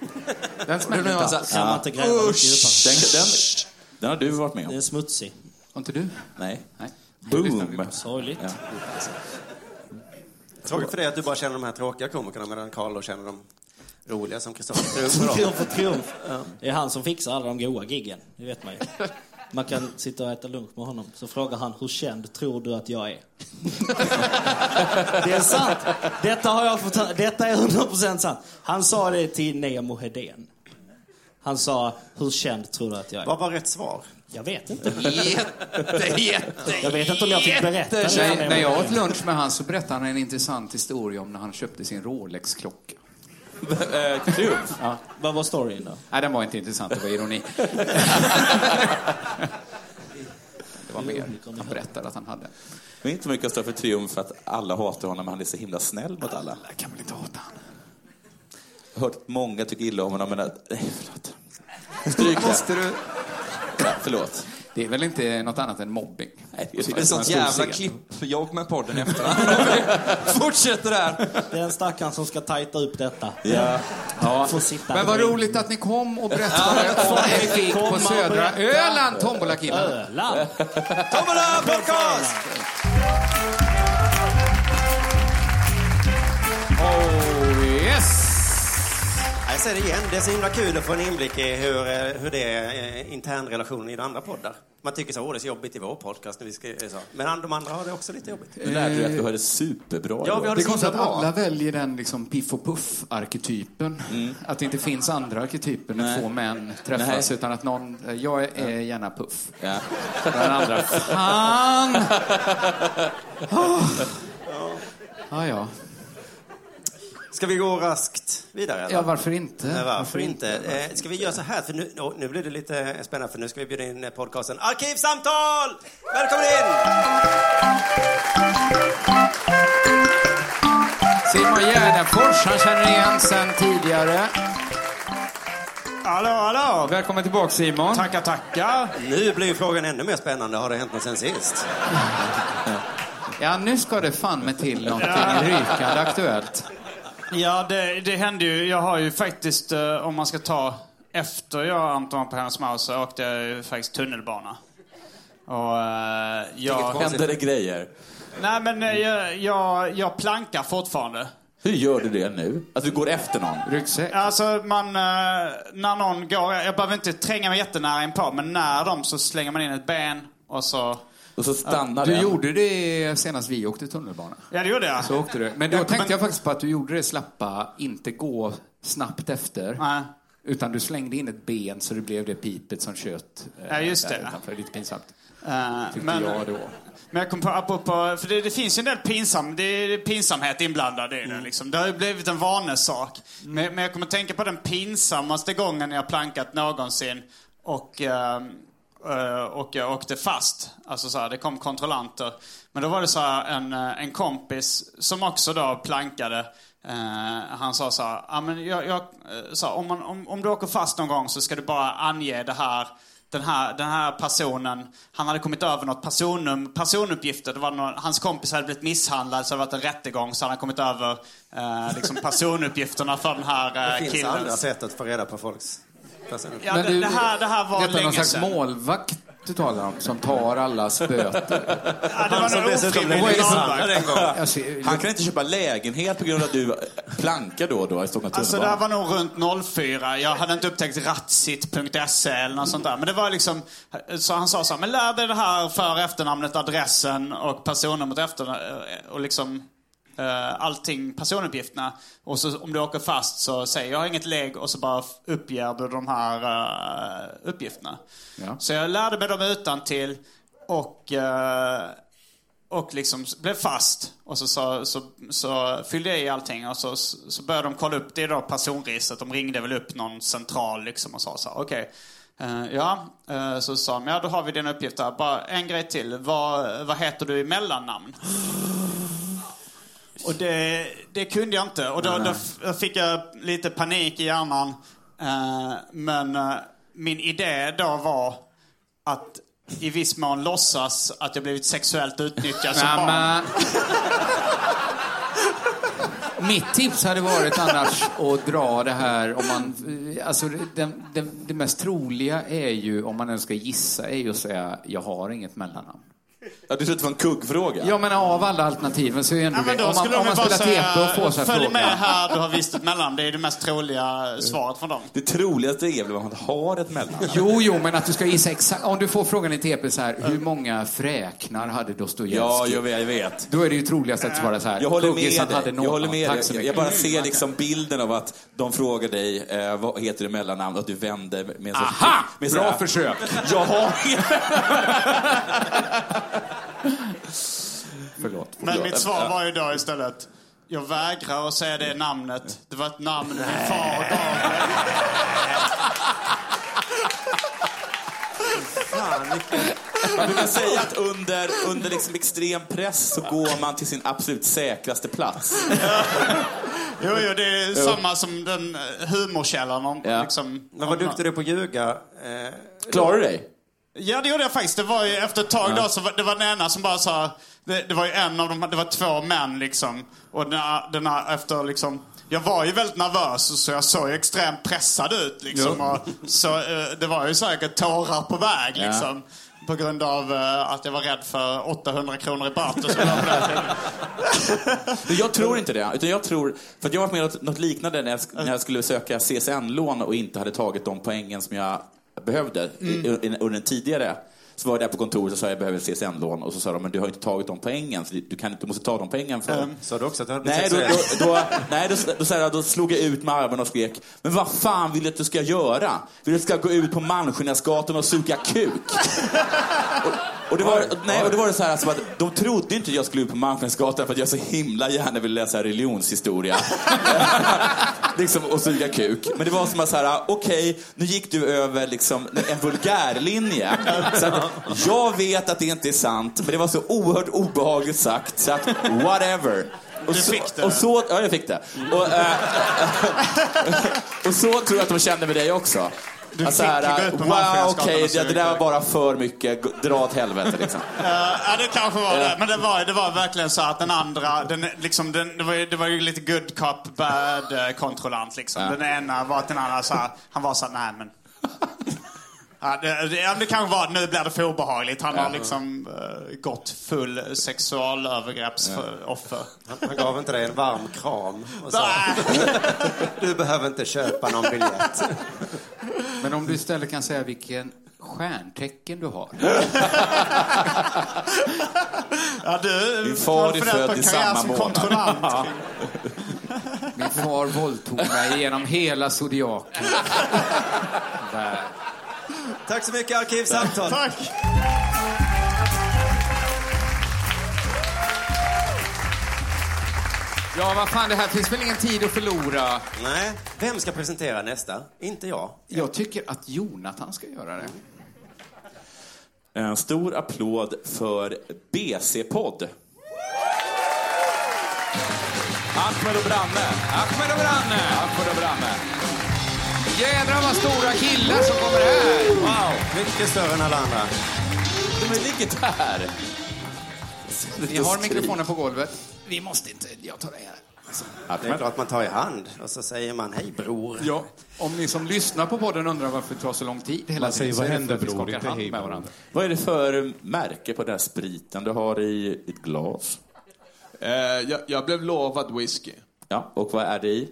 Den
Och då
smällde
blir
inte
man
alls.
så här, "Ah,
Kan man inte gräva mycket djupare.
Den, den, den har du varit med
Det är
om?
smutsig.
Och inte du?
Nej.
Nej.
Boom.
Sorgligt.
Tråkigt för dig att du bara känner de här tråkiga komikerna medan Karl då känner de roliga som Kristoffer Truff.
Triumf och triumf. Det är han som fixar alla de goa giggen. Det vet man ju. Man kan sitta och äta lunch med honom. Så frågar han, hur känd tror du att jag är? det är sant. Detta, har jag fått, detta är 100% sant. Han sa det till Nemo Hedén. Han sa, hur känd tror du att jag är?
Vad var rätt svar?
Jag vet inte.
Oh,
jätte, jätte,
Jag vet inte om jag fick berätta det.
jättekänd.
Nej, när jag åt lunch med han så berättade han en intressant historia om när han köpte sin Rolex-klocka.
Eh, Triumf.
Vad var storyn då?
Nej, den var inte intressant. Det var ironi. det var mer. Han berättade att han hade.
Det är inte mycket att stå för triumf att alla hatar honom, men han är så himla snäll mot alla.
Jag kan väl inte hata han.
Jag har hört att eh, många tycker illa om honom, men... att- Nej, förlåt. Stryk det.
Måste du?
Ja, förlåt.
Det är väl inte något annat än mobbing?
Nej,
Det är ett
som en
sånt
stor
jävla
scen.
klippjobb med podden i efterhand. Fortsätter där.
Det är en stackaren som ska tajta upp detta.
Ja.
Ja. Får sitta
Men vad
bredvid.
roligt att ni kom och berättade om er gig på
Komma och
södra
berätta.
Öland, tombolakillarna.
Öland!
Tombola podcast!
Oh, yes!
Jag säger det igen, det är så himla kul att få en inblick i hur, eh, hur det är eh, internrelationen i de andra poddar. Man tycker så, åh det är så jobbigt i vår podcast. När vi ska, eh, så. Men an- de andra har det också lite jobbigt.
Nu lärde du att du hade superbra
Ja,
igår.
vi
Det
har det
är
så
konstigt
himla
att
bra.
alla väljer den liksom piff och puff-arketypen. Att det inte finns andra arketyper när
Nej.
två män träffas utan att någon... Jag är är gärna puff.
Ja.
Och Den andra... Fan! Ah. Ja, Ah, ja.
Ska vi gå raskt vidare? Eller?
Ja, varför inte?
Nej, Varför inte? Eh, Ska vi göra så här? För nu, nå, nu blir det lite spännande, för nu ska vi bjuda in eh, podcasten Arkivsamtal! Välkommen in!
Simon Gärdenfors, han känner igen sen tidigare.
Hallå, hallå!
Välkommen tillbaka Simon.
Tackar, tackar! Nu blir ju frågan ännu mer spännande. Har det hänt något sen sist?
Ja, nu ska det fan med till någonting rykande aktuellt.
Ja, det, det hände ju. Jag har ju faktiskt, eh, om man ska ta efter jag Anton på hennes Maus så åkte jag ju faktiskt tunnelbana. Och eh, jag...
Hände det grejer?
Nej men eh, jag, jag, jag plankar fortfarande.
Hur gör du det nu? Att du går efter någon?
Ryggsäck.
Alltså man, eh, när någon går, jag behöver inte tränga mig jättenära in på men när dem så slänger man in ett ben och så...
Och så stannar
Du
den.
gjorde det senast vi åkte tunnelbana.
Ja det gjorde jag.
Så åkte du. Men då
Jag-
tänkte
men-
jag faktiskt på att du gjorde det slappa, inte gå snabbt efter.
Nej.
Utan du slängde in ett ben så det blev det pipet som kött.
Ja, just det.
Utanför. Lite pinsamt.
Eh,
Tyckte
men-
jag då.
Men jag kom på, apropå, för det, det finns ju en del pinsam, det är pinsamhet inblandad i det. Liksom. Det har ju blivit en vanesak. Men, men jag kommer att tänka på den pinsammaste gången jag plankat någonsin och, ehm, eh, och jag åkte fast. Alltså så här, det kom kontrollanter. Men då var det så här, en, eh, en kompis som också då plankade. Eh, han sa så här, "Ja, men jag, jag, eh, så här, om, man, om, om du åker fast någon gång så ska du bara ange det här den här, den här personen, han hade kommit över något personnum, personuppgifter. Det var någon, hans kompis hade blivit misshandlad så det hade varit en rättegång så han hade kommit över eh, liksom personuppgifterna för den
Äh,
här
Det
eh,
finns
killen.
andra sätt att få reda på folks personer.
Ja, det, det, här, det här var
detta är någon
länge
slags
sedan.
målvakt du talar om, som tar allas böter.
Ja, det var
som
nog
dessutom blev
ofrivilligt
misshandlad
avvakt.
en gång.
Jag ser-
Han kan inte köpa lägenhet på grund av att du plankar då och då i Stockholms
Alltså det här
tunnelbana.
var nog runt 04. Jag hade inte upptäckt ratsit.se E eller något sånt där. Men det var liksom... Så han sa så här, men lär dig det här för efternamnet, adressen och personnumret efter och liksom eh, allting, personuppgifterna. Och så om du åker fast så säger jag har inget lägg och så bara uppger du de här eh, uppgifterna.
Ja.
Så jag lärde mig dem utan till och eh, och liksom blev fast. Och så, så, så, så fyllde jag i allting och så, så började de kolla upp det då personregistret. De ringde väl upp någon central liksom och sa så här, okej. eh, ja, eh, så sa de, ja då har vi dina uppgifter. Bara en grej till. Vad, vad heter du i mellannamn? Och det, det kunde jag inte. Och då, då f- fick jag lite panik i hjärnan. Eh, men eh, min idé då var att i viss mån låtsas att jag blivit sexuellt utnyttjad som
Nej,
barn.
men... Mitt tips hade varit annars att dra det här om man... eh, Alltså det, det, det mest troliga är ju, om man ens ska gissa, är ju att säga jag har inget mellannamn.
Ja, du trodde det var en kuggfråga.
Ja men av alla alternativen så är ju ändå
Ja, men
det...
då
Om man,
skulle
om
de ju
man
bara
spelar TP och får så
säga
här
följ
frågor.
med här, du har visst ett mellan. Det är det mest troliga svaret från dem.
Det troligaste är väl att man har ett mellannamn?
Jo, jo, men att du ska gissa exakt. Om du får frågan i TP så här, hur många fräknar hade Dostojevskij?
Ja, jag vet. Jag, vet.
Då är det ju troligast att svara så här,
jag håller med
"Kuggis, han
dig.
hade någon.
Jag, håller med
Tack så
dig.
mycket.
jag bara ser liksom bilden av att de frågar dig eh, vad heter du i mellannamn och att du vänder med en sorts-
Aha!
med så här-
Bra försök!
Jag har inget
Förlåt.
Men mitt svar var ju då istället, jag vägrar att säga det namnet. Det var ett namn min far gav mig.
Man brukar säga att under, under liksom extrem press så går man till sin absolut säkraste plats.
Jo, jo, det är samma som den eh, humorkällan. Om,
Ja.
liksom,
Men vad duktig du är på att ljuga. Eh,
Klarar du dig?
Ja, det gjorde jag faktiskt. Det var ju efter ett tag då, så var, det var den ena som bara sa... Det, det var ju en av de, det var två män liksom. Och den här, den här efter liksom... Jag var ju väldigt nervös och så jag såg ju extremt pressad ut liksom. Och, så eh, det var ju säkert tårar på väg liksom. På grund av eh, att jag var rädd för 800 kronor i böter som jag på den tiden.
Men Jag tror inte det. Utan jag tror, för att jag har varit med om något- något liknande när jag, sk- när jag skulle söka CSN-lån och inte hade tagit de poängen som jag behövde
Mm.
i, i, under den tidigare. Så var jag där på kontoret och sa jag behöver ett CSN-lån och så sa de men du har inte tagit de poängen, så du, du, kan, inte- du måste ta de poängen för
Mm. Sa du också att du hade
Nej,
blivit
då,
sexuell?
då, då, nej då, då, så här, då slog jag ut med armarna och skrek Men vad fan vill du att du ska göra? Vill du att du ska gå ut på Malmskillnadsgatan och suga kuk? Och, och, det var, nej, och det var det så här, alltså, att de trodde ju inte att jag skulle ut på Malmskillnadsgatan för att jag så himla gärna ville läsa religionshistoria. liksom, och suga kuk. Men det var som att så här, okej, nu gick du över liksom, en vulgärlinje. Så att, jag vet att det inte är sant, men det var så oerhört obehagligt sagt, så att whatever. Och
Du
så,
fick det.
Och så, ja, jag fick det. Och, eh, och så tror jag att de kände med dig också.
Du
Att
fick
här,
gå ut på
wow,
Malmskillnadsgatan
okej,
och
det,
suga
det där var
kuk."
bara för mycket, Gå- dra åt helvete liksom.
Eh, ja, det kanske var det. Men det var, det var verkligen så att den andra, den, liksom, den, det, var ju, det var ju lite good cop, bad eh, kontrollant liksom. Den ena var att den andra så här, han var så här, nej men. Ja, det, det, ja, det kanske var, nu blir det för obehagligt. Han har liksom eh, gått full sexualövergreppsoffer.
Han gav inte dig en varm kram och sa
Nej.
du behöver inte köpa någon biljett.
Men om du istället kan säga vilken stjärntecken du har.
Ja, du,
Din far
du får det
är
på
född i
karriär
samma
som
månad.
kontrollant.
Min far våldtog mig genom hela zodiaken. Där.
Tack så mycket Arkivsamtal.
Tack!
Ja, vad fan, det här finns väl ingen tid att förlora.
Nej, vem ska presentera nästa? Inte jag.
Jag tycker att Jonathan ska göra det.
En Eh, stor applåd för BC-podd. Ahmed och Branne.
Ahmed och Branne! Ahmed och Branne. Jädrar vad stora killar som kommer här!
Wow, mycket större än alla andra.
De ligger där.
Vi har mikrofonen på golvet. Vi måste inte... Jag tar det här.
Det är klart man tar i hand och så säger man hej bror.
Ja, om ni som lyssnar på podden undrar varför det tar så lång tid hela
säger,
så
"Vad
är det
händer,
för att vi
bror?
skakar
Inte
hand
hej,
med
bror."
varandra.
Vad är det för märke på den här spriten du har i ett glas?
Eh, jag, jag blev lovad whisky.
Ja, och vad är det i?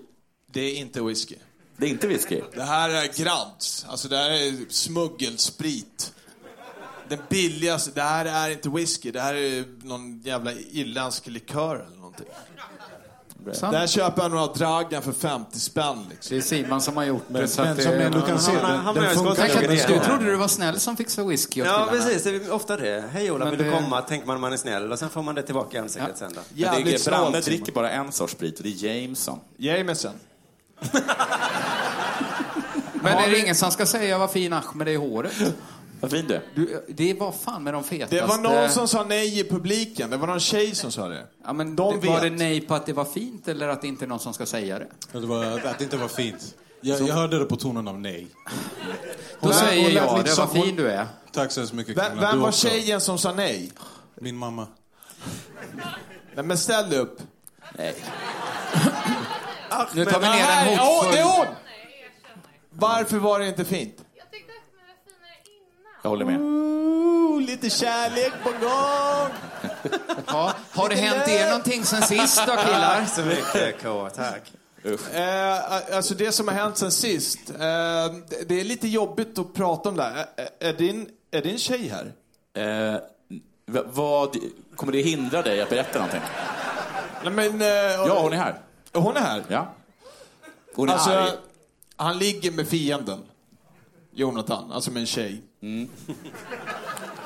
Det är inte whisky.
Det är inte whisky.
Det här är Grants. Alltså det här är smuggelsprit. Den billigaste. Det här är inte whisky. Det här är någon jävla irländsk likör eller någonting.
Sant.
Det här köper jag några Dragan för 50 spänn liksom.
Det är Simon som har gjort det. Så att
Men
det,
som du kan se,
han-
den,
han
den
börjar
funkar
skotta
ju
lite
den
grann.
jag
ska.
trodde du var snäll som fixade whisky åt
Ja,
killarna.
precis. Det är ofta det. Hej Ola,
Men
vill du
det-
komma? Tänker man när man är snäll och sen får man det tillbaka i ansiktet sen då.
Men det är,
Jävligt
Branne
snålt, Simon.
dricker bara en sorts sprit och det är Jameson.
Jameson.
Men är det ingen som ska säga vad fin Ahmed är i håret?
Vad fin du är.
Du, det var fan med de fetaste...
Det var någon som sa nej i publiken. Det var någon tjej som sa det.
Ja, men
De
Var det
vet.
nej på att det var fint eller att det inte är någon som ska säga det?
Ja, Det var, att det inte var fint. Jag, jag hörde det på tonen av nej.
Då
lät-
säger
hon lät
jag
lite
det,
som-
vad fin du är.
Tack så hemskt mycket
Vem,
Du
vem var
också.
tjejen som sa nej?
Min mamma.
Nej men ställ dig upp. Ah,
Nu tar vi
Men
ner
här-
en
Ja, det är
hotfull...
hon! Varför var det inte fint?
Jag håller med.
Ooh, lite kärlek på gång!
Ja, har det hänt er någonting sen sist då killar?
Tack så mycket K, tack.
Eh, alltså det som har hänt sen sist. Eh, det- det är lite jobbigt att prata om det här. Eh, eh, Är din, är din tjej här?
Eh, v- vad, kommer det hindra dig att berätta någonting?
Nej, men, eh,
Ja, hon är här.
Hon är här?
Ja. Hon är arg.
Alltså, han ligger med fienden. Jonathan, alltså med en tjej.
Mm.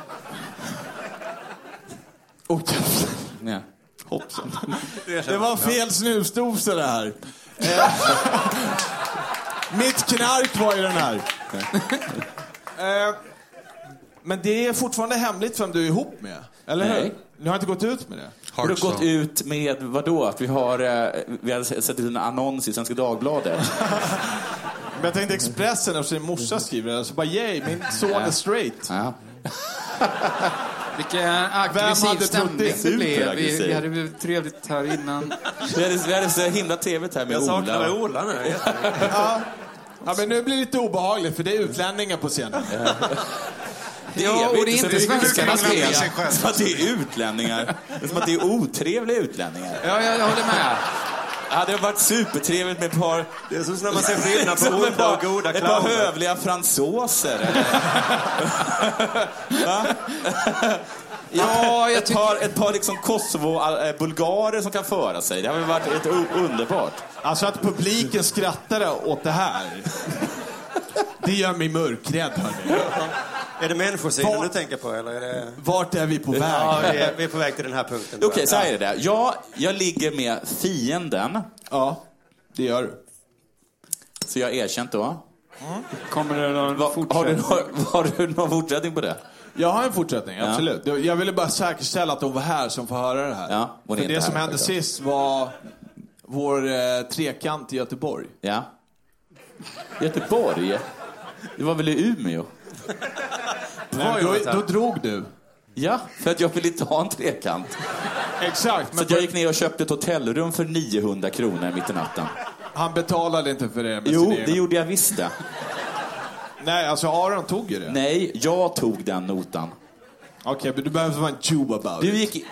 Och
Nej.
Hoppsan. Det var fel snusdosa det här. Eh, Mitt knark var ju den här. Eh, Men det är fortfarande hemligt vem du är ihop med, eller hur?
Nej.
Ni har inte gått ut med det?
Har du gått ut med vad då? Att vi har eh, vi har sett ut en annons i Svenska Dagbladet?
Men jag tänkte Expressen, eftersom din morsa skriver det, så bara yay, min son är straight.
Ja.
Vilken aggressiv
hade trott
stämning
det?
det blev. Vi,
Superaggressiv.
vi hade blivit trevligt här innan.
Vi hade, vi hade så himla trevligt här med
Jag saknar
Ola.
Ola nu.
Ja. ja, men nu blir det lite obehagligt för det är utlänningar på scenen.
Det är
Ja,
vi
och det är
så
inte
vi- Som
svenskarnas
att det är-
fel.
Som att det är utlänningar. Det är Som att det är otrevliga utlänningar.
Ja, jag, jag håller med.
Hade det varit supertrevligt med ett par...
Det är som när man ser skillnad på
Som ett
onda
par,
och goda
ett par
clowner.
hövliga fransoser. eller? Va?
Ja, jag
ett par, ett par liksom Kosovo-bulgarer som kan föra sig. Det hade väl varit ett o- underbart.
Alltså att publiken skrattar åt det här. Det gör mig mörkrädd hörni.
Är det människosynen
Var-
du tänker på eller? Är det...
Vart är vi på
Ja,
väg?
vi är, vi är på väg till den här punkten.
Okej, så här är det. Jag, jag ligger med fienden,
Ja, det gör du.
så jag har erkänt då.
Kommer det någon
Va, har, du,
fortsättning?
har, har du någon fortsättning på det?
Jag har en fortsättning, absolut. Jag ville bara säkerställa att de var här som får höra det här.
Ja, hon är
För
inte
det som
här,
hände
självklart.
sist var vår eh, trekant i Göteborg.
Ja. Göteborg? Det var väl i Umeå?
Nej, då, då drog du.
Ja, för att jag ville inte ha en trekant.
Exakt,
Så
men
att jag gick ner och köpte ett hotellrum för 900 kronor mitt i natten.
han betalade inte för Alltså, det. Med sin
Jo,
egen-
det gjorde jag visst det.
Nej, alltså Aron tog ju det.
Nej, jag tog den notan.
Okej, men du behöver inte vara en Jew about
Du
it.
gick... i-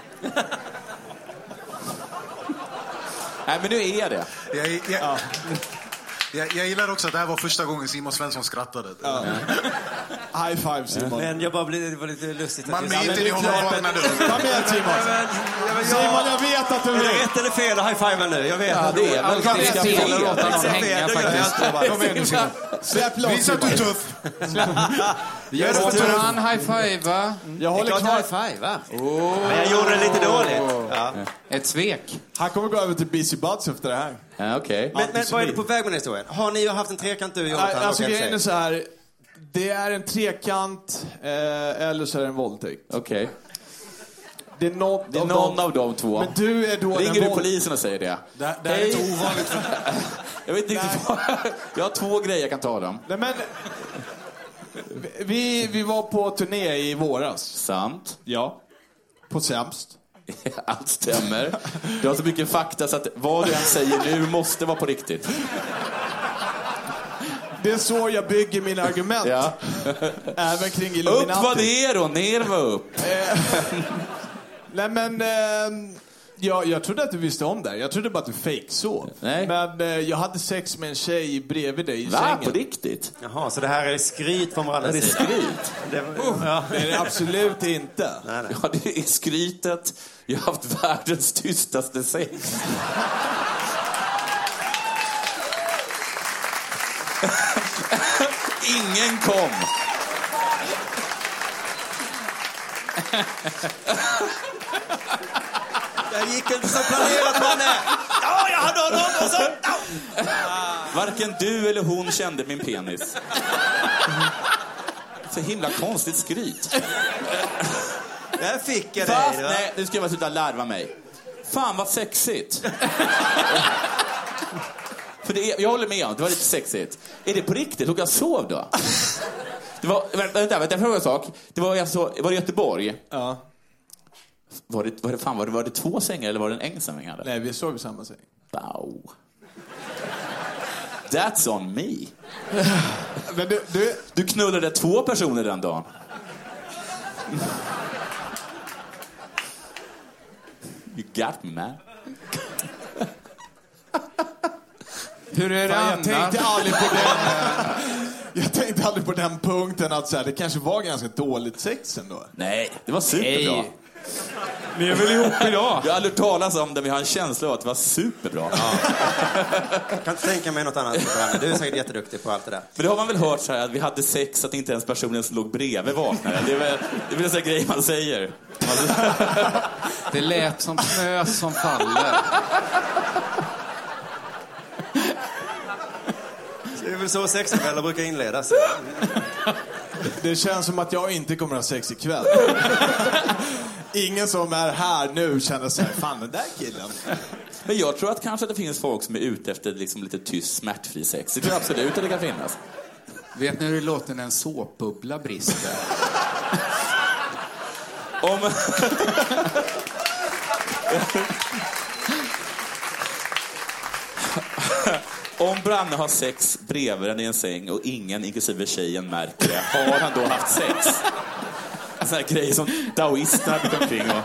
Nej, men nu är det.
Jag, jag, jag, jag gillar också att det här var första gången Simon Svensson skrattade.
High five Simon.
Men jag bara blev, det var lite lustigt.
Man
att
blir inte i honom vaknar du.
Kom igen Simon. Simon, jag vet att du
Är
vill.
det rätt eller fel att high-fiva nu? Jag vet
Ja,
inte.
det är väl...
Jag vet inte. Jag låter
Jag
någon
ser fel,
hänga
det gör jag
faktiskt.
inte.
Kom igen nu Simon. Släpp loss
Visa att du är
Simon.
tuff.
Jag,
Och
håller-
tar han high-five, va?
jag
Det är
håller
klart
kvar.
high-five, va?
Oh.
Men jag gjorde det lite dåligt. Ja.
Ett svek.
Han kommer gå över till BC Buds efter det här.
Ja, okej.
Men, men vad är du på väg med den historien? Har ni ju haft en trekant du, Jonathan?
Nej, alltså
och en
grejen är
tjej?
så här. Det är en trekant eh, eller så är det en våldtäkt.
Okej.
Det är någon,
Det är
av
någon
dem.
av de två.
Men du är då
Ringer
den
du
våld-
polisen och säger det?
Det, här- det här är inte ovanligt.
Jag vet inte riktigt vad... Jag har två grejer jag kan tala om.
Nej, men... Vi, vi var på turné i våras.
Sant.
Ja. På Sämst.
Allt stämmer. Du har så mycket fakta så att vad du än säger nu måste vara på riktigt.
Det är så jag bygger mina argument.
Ja.
Även kring
Upp
Illuminati.
var ner och ner var upp.
Nej men, eh, jag, jag trodde att du visste om det här. Jag trodde bara att du fejksov.
Nej.
Men eh, jag hade sex med en tjej bredvid dig i
Va? På
sängen.
riktigt?
Jaha, så det här är skryt från Brandes sida?
Skryt?
Det, ja.
Nej, det är absolut inte.
Ja, det är skrytet. Jag har haft världens tystaste sex. Ingen kom.
Det gick inte som planerat, Manne! Ja, jag hade honom och så...
Varken du eller hon kände min penis. Så himla konstigt skryt.
Där fick jag
Fast,
dig. va?
nej, nu ska jag bara sluta larva mig. Fan vad sexigt. För det är, jag håller med om, det var lite sexigt. Är det på riktigt? Låg jag och sov då? Det var, vänta, vänta, vänta, jag frågar en sak. Det var alltså, var det Göteborg?
Ja.
Var det, var det, fan, var det, var det två sängar eller var det en ensam säng?
Nej, vi sov i samma säng.
Wow. That's on me.
Men du, du,
Du knullade två personer den dagen. You got me man.
Hur är det
fan, jag
annars?
tänkte aldrig på den... eh, Jag tänkte aldrig på den punkten att så här, det kanske var ganska dåligt sex ändå.
Nej, det var superbra.
Nej. Ni är väl ihop idag?
Jag har aldrig hört talas om det, men jag har en känsla av att det var superbra.
Jag kan inte tänka mig något annat. Brandes. Du är säkert jätteduktig på allt det där.
För det har man väl hört så här, att vi hade sex, att inte ens personen som låg bredvid vaknade. Det är väl, det är väl en sån här grej man säger.
Det lät som snö som faller.
Det är väl så sexkvällar brukar inledas.
Det känns som att jag inte kommer ha sex ikväll. Ingen som är här nu känner sig fan den där killen.
Men jag tror att kanske det finns folk som är ute efter liksom lite tyst, smärtfri sex. Det tror jag absolut att det kan finnas.
Vet ni hur det låter när en såpbubbla brister?
Om... Om Branne har sex bredvid den i en säng och ingen, inklusive tjejen, märker det, har han då haft sex? En sån här grej som daoisterna brukar omkring och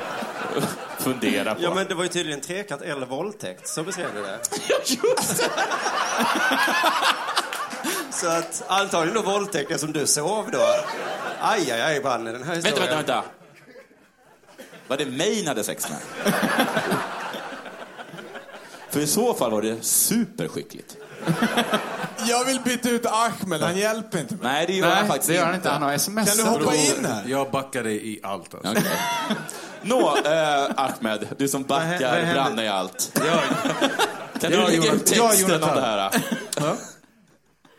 fundera på.
Ja, men det var ju tydligen trekant eller våldtäkt. Så beskrev du det.
Ja, just det!
Så att antagligen då våldtäkten som du sov då. Aj, aj, aj, Branne, den här
Vänta,
historien.
vänta, vänta. Var det mig ni hade sex med? För i så fall var det superskickligt.
Jag vill byta ut Ahmed, han hjälper inte mig.
Nej, det gör
Nej,
han faktiskt
det gör han inte. Han har
Kan
sms.
du hoppa in här?
Jag backade i allt alltså.
Okej. Nå, eh, Ahmed, du som
Vad hä- vad
backar
händer?
Branne i allt.
Jag,
Kan du
Ja,
lägga ut
Jonathan.
texten
Ja,
om
Jonathan.
det här? då?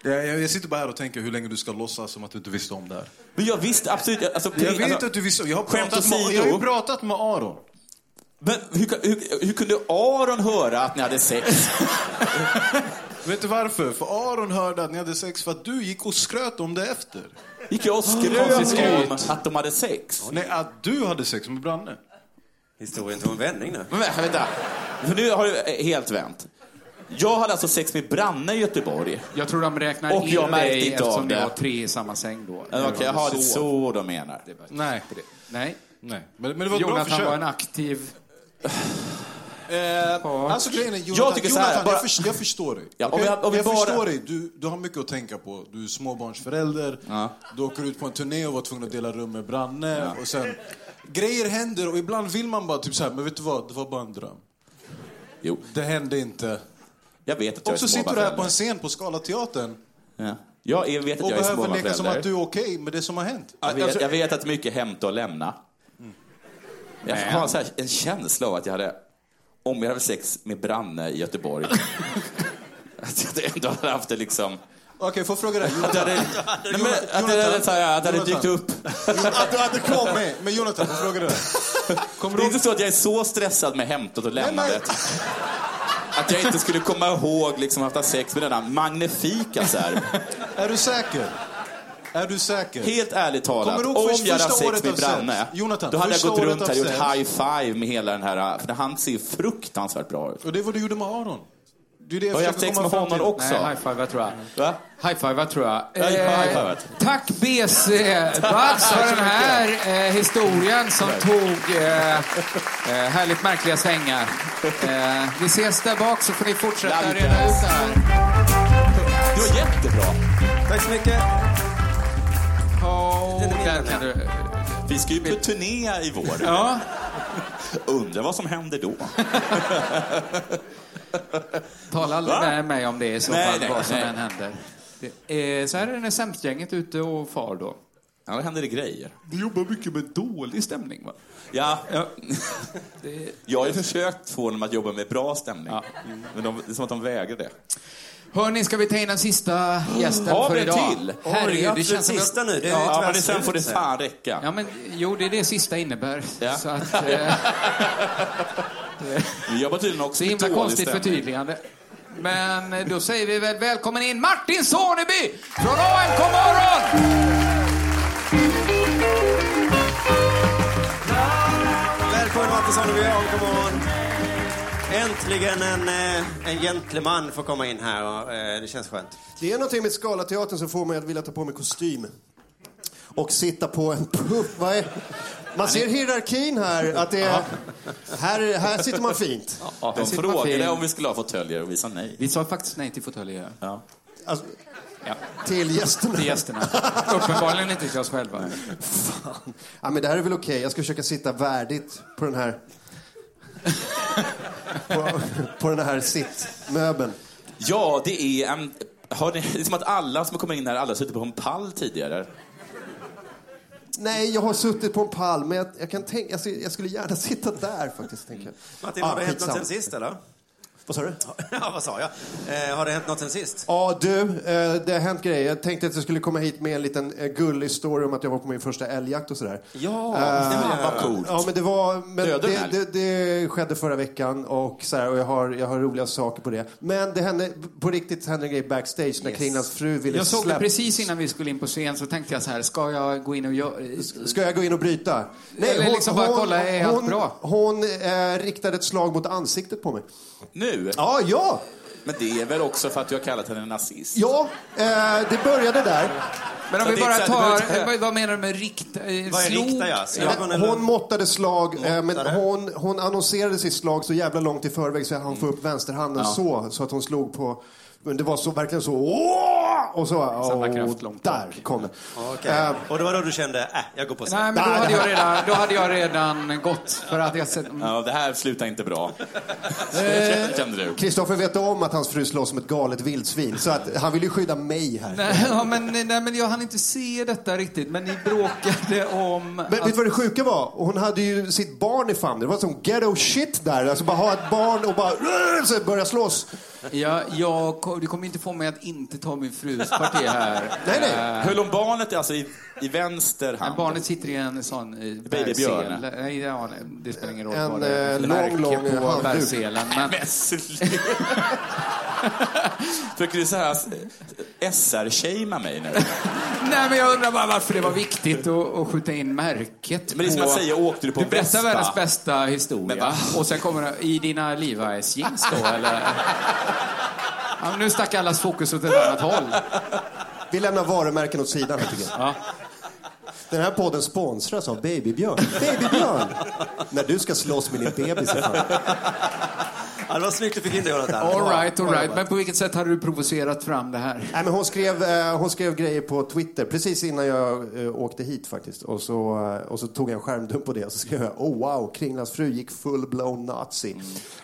Jag, jag, jag sitter bara här och tänker hur länge du ska låtsas som att du inte visste om det här.
Men jag visste absolut... jag- Alltså,
Jag vet
alltså,
att du visste. Jag har
skämt
pratat med, jag har
åsido.
ju pratat med Aron.
Men hur, hur, hur kunde Aron höra att ni hade sex?
Vet du varför? För Aron hörde att ni hade sex för att du gick och skröt om det efter.
Gick jag och skröt om att de hade sex?
Nej, att du hade sex med Branne.
Historien tog en vändning nu.
Men vänta, vänta. För nu har det helt vänt. Jag hade alltså sex med Branne i Göteborg.
Jag tror de räknar
Och
in
jag märkte
dig
inte av
eftersom ni
det.
var tre i samma säng då.
Okej, okay, jaha, det är
Så.
så de menar.
Nej.
Nej.
Nej. Men, men det var ett bra
Jonathan
försök.
var en aktiv...
Eh, alltså grejen är, Jonathan,
Jag tycker så här,
Jonathan,
bara-
jag, förstår, jag förstår dig.
Ja, om
Okej?
jag- om vi bara-
förstår dig. Du, du har mycket att tänka på. Du är småbarnsförälder. Du åker ut på en turné och var tvungen att dela rum med Branne. Och sen, grejer händer och ibland vill man bara typ så här, men vet du vad? Det var bara en dröm.
Jo,
Det hände inte.
jag vet att jag är
Och så sitter du här på en
småbarnsförälder.
scen på Scalateatern
Ja. Jag är- vet att
och
jag är
behöver leka som att du
småbarnsförälder.
är okej med det som har hänt. Alltså,
Jag vet, jag vet att mycket är hämta och lämna.
Mm.
Jag har så här, en känsla av att jag hade, om jag hade sex med Branne i Göteborg, att jag ändå hade haft det liksom...
Okej, får jag fråga dig?
Att det hade, nej, men, att det hade, så här, att det hade dykt upp.
Att du hade kommit! Men Jonathan, får jag fråga dig?
Det är inte så att jag är så stressad med hämtat och lämnandet. Att jag inte skulle komma ihåg liksom att ha sex med denna magnifika serb.
Är du säker? Är du säker?
Helt ärligt
Kommer
talat,
du
om
ihåg först-
jag hade haft
första
sex
året
med
av sex?
Branne,
Jonathan,
då hade jag
första
gått
året
runt
av
här och gjort
sex.
high five med hela den här, för han ser ju fruktansvärt bra ut.
Och det är vad du gjorde med Aron. Det är det jag
Har jag haft
försöker
sex
komma
med
fram
honom
till.
också?
Nej, high-five tror jag.
Va?
High-five tror jag. Eh,
Ja, jag har high-fivat.
tack BC Buds för den här eh, historien som tog eh, eh, härligt märkliga svängar. Eh, vi ses där bak så får ni fortsätta
Lankas.
reda ut det här.
Det var jättebra!
Tack så mycket.
Oh, där kan du...
Vi ska ju på turné i vår.
Ja.
Undrar vad som händer då?
Tala aldrig
Va?
med mig om det i så
Nej,
fall,
nej,
vad som
nej.
än händer. Det, eh, så här är det när sämstgänget ute och far då.
Ja, då händer det grejer.
Vi jobbar mycket med dålig stämning va?
Ja. Jag har ju försökt få dem att jobba med bra stämning. Men de, det är som att de vägrar det.
Hörni, ska vi ta in den sista gästen
Har
för
vi en
idag?
till? Oj,
Herregud, det
absolut
känns som... att-
sista nu. Det är
Ja,
tyvärr
men det, sen
slut
får det
sen.
fan räcka.
Ja, men jo, det är det sista innebär.
Ja.
Så att, eh, det
Vi jobbar tydligen också
är
med
himla
dålig
konstigt
stämning.
förtydligande. Men eh, då säger vi väl välkommen in Martin Soneby från AMK Morgon!
Välkommen Martin Sonneby, god morgon. Äntligen en, eh, en gentleman får komma in här och eh, det känns skönt.
Det är någonting med Scalateatern som får mig att vilja ta på mig kostym. Och sitta på en pub. Vad är... Man ser hierarkin här. Att det är... här, här sitter man fint.
Ja,
De frågade om vi skulle ha fåtöljer och vi sa nej.
Vi sa faktiskt nej till fåtöljer.
Ja.
Alltså,
Ja.
till gästerna.
Till gästerna. Uppenbarligen inte till oss själva.
Fan. Ja, men det här är väl okej. Jag ska försöka sitta värdigt på den här... på, på den här sittmöbeln.
Ja, det är en... Har ni, det är som att alla som kommer in här, alla har suttit på en pall tidigare.
Nej, jag har suttit på en pall, men jag, jag, kan tänka, jag, skulle- jag skulle gärna sitta där faktiskt. Tänker jag.
Martin, har det hänt något
Ah, skitsamma.
sen sist eller?
Vad sa du?
Ja, vad sa jag? Eh, har det hänt något sen sist?
Ja, du, eh, det har hänt grejer. Jag tänkte att jag skulle komma hit med en liten eh, gullig story om att jag var på min första älgjakt och sådär.
Ja,
Eh,
vad coolt.
Ja, men det var... Men
Dödade en
det,
älg?
det, det skedde förra veckan och, så här, och jag, har, jag har roliga saker på det. Men det hände, på riktigt hände en grej backstage när Kringlands fru ville
Jag såg det
släppa...
precis innan vi skulle in på scen så tänkte jag så här, ska jag gå in och göra...
Ska jag gå in och bryta?
Eller liksom bara kolla, är allt
hon,
bra?
hon eh, riktade ett slag mot ansiktet på mig.
Nu?
Ja, ja!
Men det är väl också för att du har kallat henne nazist?
Ja, eh, det började där.
Men om
Så
vi
det är
bara
så här, det behöver
tar,
inte-
vad, vad menar du med eh, rikta?
Vad är rikta, ja?
Nej,
Slagon eller?
Hon måttade slag, eh, men hon, hon annonserade sitt slag så jävla långt i förväg så
Mm.
han får upp vänsterhanden så, så att hon slog på... Men det var så, verkligen så... Åh! Och så...
Samma
åh,
kraft långt bak.
där kom det.
Okej.
Eh,
Och det var då du kände, äh, jag går på
Nej, men
scen.
då hade, jag redan, då hade jag redan gått. För att jag sett...
Ja, det här slutar inte bra.
Eh,
Kände- Kände du?
Kristoffer vet om att hans fru slåss som ett galet vildsvin så att han vill ju skydda mig här.
Nej, ja, men, nej, men jag hann inte se detta riktigt. Men ni bråkade om...
Men vet
att-
du vad det sjuka var? Hon hade ju sitt barn i famnen. Det var som ghetto shit där. Alltså bara ha ett barn och bara "Rrr!" så börja slåss.
Ja, jag, kom- du kommer inte få mig att inte ta min frus parti här. Eh,
Nej, nej.
Höll hon barnet alltså i, i vänster hand?
Men barnet sitter i en sån... eh,
Babybjörn.
bergsele. Nej, ja, nej, det spelar ingen roll.
En,
vad det är.
eh,
Märke
lång, lång
på
handduk.
bergselen. Men...
Men sluta. Försöker du så här SR-shamea mig nu?
Nej, men jag undrar bara varför det var viktigt att, att skjuta in märket
Men det är som
på...
att säga, åkte du på
Du berättar
Vespa?
världens bästa historia
Men va?
och sen kommer det i dina Levi's jeans då eller? Ja, men nu stack allas fokus åt ett annat håll.
Vi lämnar varumärken åt sidan här, tycker jag.
Ja.
Den här podden sponsras av Babybjörn. Babybjörn! När du ska slåss med din bebis. i famnen.
Ja, det var snyggt du fick in det Jonathan.
All right, all right. Men på vilket sätt hade du provocerat fram det här?
Nej, men hon, skrev, eh, hon skrev grejer på Twitter precis innan jag eh, åkte hit faktiskt. Och så, eh, och så tog jag en skärmdump på det och så skrev jag oh wow, Kringlands fru gick full-blown nazi.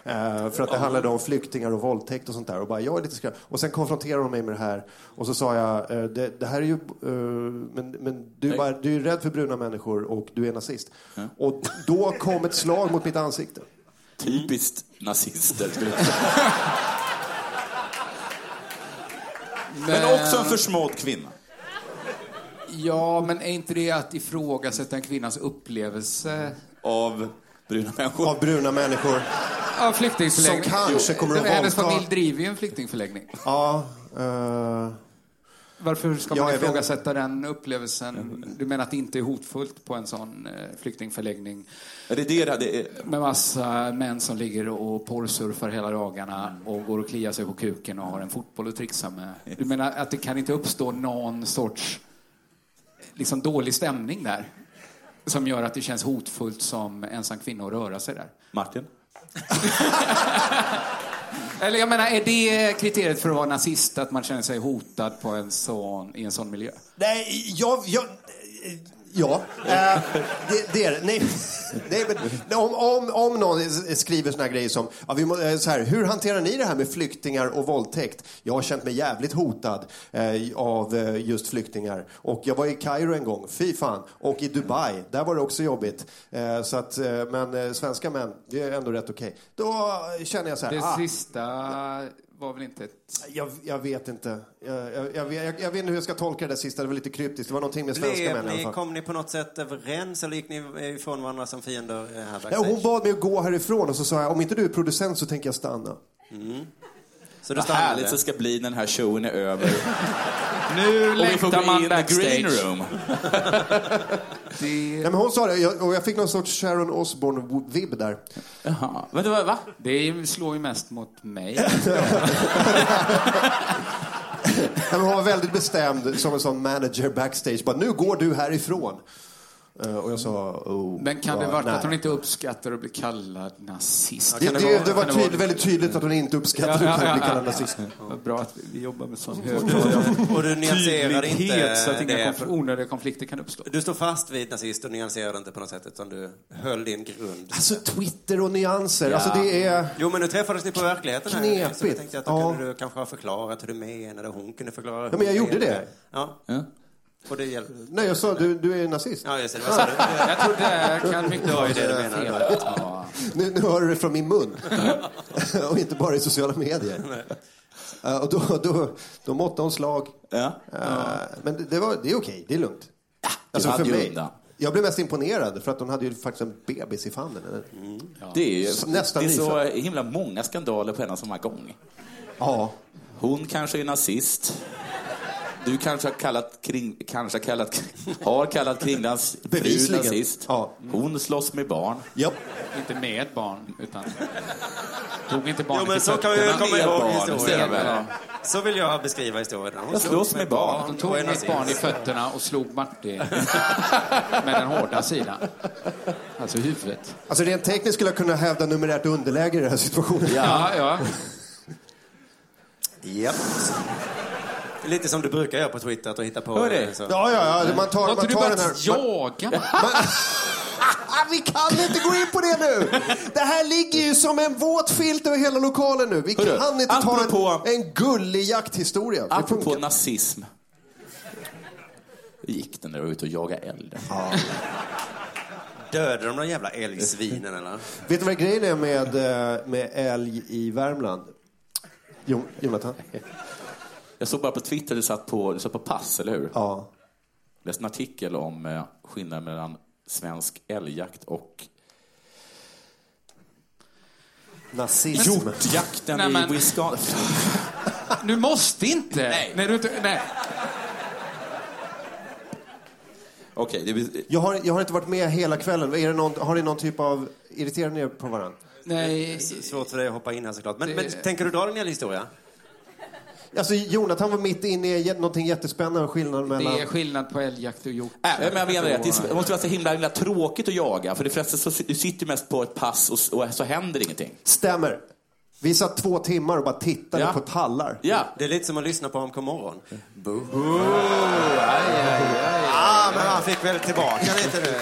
Mm.
Eh, för att det handlade om flyktingar och våldtäkt och sånt där. Och, bara, jag är lite skrämd. och sen konfronterade hon mig med det här och så sa jag eh, det, det här är ju, eh, men, men du, är bara, du är ju rädd för bruna människor och du är nazist. Och då kom ett slag mot mitt ansikte.
Typiskt nazister. skulle jag säga. Men också en försmådd kvinna.
Ja, men är inte det att ifrågasätta en kvinnas upplevelse
Av bruna människor.
Av bruna människor.
av flyktingförläggning?
Som kanske kommer att
Den- Hennes
våldta-
familj driver ju en flyktingförläggning.
Ja, eh,
Varför ska
Ja,
man
jag vet.
ifrågasätta den upplevelsen? Du menar att det inte är hotfullt på en sån eh, flyktingförläggning?
Är det det där? Det är...
Med massa män som ligger och porrsurfar hela dagarna och går och kliar sig på kuken och har en fotboll att trixa med. Du menar att det kan inte uppstå någon sorts liksom dålig stämning där? Som gör att det känns hotfullt som ensam kvinna att röra sig där.
Martin?
Eller jag menar, är det kriteriet för att vara nazist? Att man känner sig hotad på en sån, i en sån miljö?
Nej, jag... jag eh, ja, eh, det, det är det. Nej, nej, men, nej, om, om, om någon s- skriver såna här grejer som ja, vi må, eh, så här, Hur hanterar ni det här med flyktingar och våldtäkt? Jag har känt mig jävligt hotad eh, av eh, just flyktingar. Och jag var i Kairo en gång, fy fan. Och i Dubai, där var det också jobbigt. Eh, så att, eh, men eh, svenska män, det är ändå rätt okej. Då känner jag så här...
Det
ah,
sista var väl inte ett...
jag, jag vet inte. Jag, Eh, jag, jag, vet- jag, jag vet inte hur jag ska tolka det där sista. Det var lite kryptiskt. Det var någonting med svenska
Blev
män i
ni,
alla fall.
kom ni på något sätt överens eller gick ni ifrån varandra som fiender eh, här
Ja,
backstage?
hon bad mig att gå härifrån och så sa jag om inte du är producent så tänker jag stanna.
Mm. Så du
Vad
stannade?
härligt det ska bli när den här showen är över.
Nu
Och vi får
längtar
gå in
man
i the green
backstage.
room.
Det
Nej, men hon sa det jag, och jag fick någon sorts Sharon Osbourne-vibb där.
Jaha. Vänta, vad- va?
Det slår ju mest mot mig.
Nej, men hon var väldigt bestämd som en sån manager backstage. Bara, nu går du härifrån. Eh, Och jag sa... Oh,
Men kan det
ja,
vara
nej.
att hon inte uppskattar att bli kallad nazist?
Det,
Kan
det,
vara-
det var
kan
tydligt, väldigt tydligt att hon inte uppskattade
Ja,
att
ja,
bli
ja,
kallad
ja.
nazist. Mm.
Vad bra att vi- vi jobbar med sån
Eh, Och du nyanserade inte
tydlighet så att inga
det?
konf- onödiga konflikter kan uppstå.
Du står fast vid nazist och nyanserade inte på något sätt utan du höll din grund.
Alltså Twitter och nyanser. Alltså det är...
Jo, men nu träffades ni på verkligheten här.
Knepigt.
Så jag tänkte att då
Ja.
kunde du kanske ha förklarat hur du menade och hon kunde förklara
Ja,
hur
men jag
hon
gjorde
menade.
det.
Ja. Och det hjälper.
Nej, jag sa du, du är nazist.
Ja, just det. Vad sa du?
Jag trodde jag kan mycket
Det var ju det du menade.
Nu, nu hör du det från min mun. och inte bara i sociala medier. Eh, och då, då, då måttade hon slag.
Ja.
Eh, Men det, det, var, det är okej, det är lugnt. Ja,
hade ju undan.
Jag blev mest imponerad för att hon hade ju faktiskt en bebis i famnen. eller?
Det är ju
Nästan
det är så
nyfödd.
himla många skandaler på en och samma gång.
Ja.
Hon kanske är nazist. Du kanske har kallat, kring, kanske har kallat, har kallat Kringlands fru
Bevisligen.
nazist.
Ja.
Hon slåss med barn.
Ja.
Inte med barn, utan... Tog inte barnet
Jo, men
i
så kan
fötterna.
fötterna.
vi komma ihåg
Med barn,
historien.
ser jag.
Så vill jag beskriva historien. Hon
Jag slåss med barn.
Hon tog
och är
mitt
nazist.
barn i fötterna och slog Martin med den hårda sidan. Alltså huvudet.
Alltså rent tekniskt skulle jag kunna hävda numerärt underläge i den här situationen.
Ja, ja.
Japp. Lite som du brukar göra på Twitter, att du hittar på...
Hör det?
Så.
Ja, ja, ja. Man tar,
Har
man
inte du
tar den här...
börjat jaga?
Ah, vi kan inte gå in på det nu! Det här ligger ju som en våt filt över hela lokalen nu. Vi
Hörru,
kan inte ta
apropå-
en, en gullig jakthistoria. Det
Apropå
funkar.
nazism. Hur gick det när du var ute och jagade eld?
Dödade de de jävla älgsvinen, eller?
Vet du vad grejen är med, eh, med älg i Värmland? Jo, Jonathan?
Jag såg bara på Twitter, du satt på, du satt på pass, eller hur?
Ja.
läste en artikel om eh, skillnaden mellan svensk älgjakt och
Nazism.
hjortjakten
Nej, men-
i Wisconsin.
Du måste inte! Nej. du inte nej.
Okej, det blir-
Jag har, jag har inte varit med hela kvällen. Är det någon, har ni någon typ av... Irriterar ni er på varandra?
nej.
Svårt för dig att hoppa in här såklart. Men, men tänker du dra din hela historia?
Alltså, Jonathan var mitt inne i jä- någonting jättespännande. Skillnaden mellan...
Det är skillnad på älgjakt och hjort.
Nej, Äh, men jag menar det, att det måste vara så himla, himla tråkigt att jaga. För det förresten så du sitter ju mest på ett pass och, s- och så händer ingenting.
Stämmer. Vi satt två timmar och bara tittade
Ja.
på tallar.
Ja,
Det är lite som att lyssna på AMK morgon. Boo.
Ja, Ah, men han fick väl tillbaka lite nu.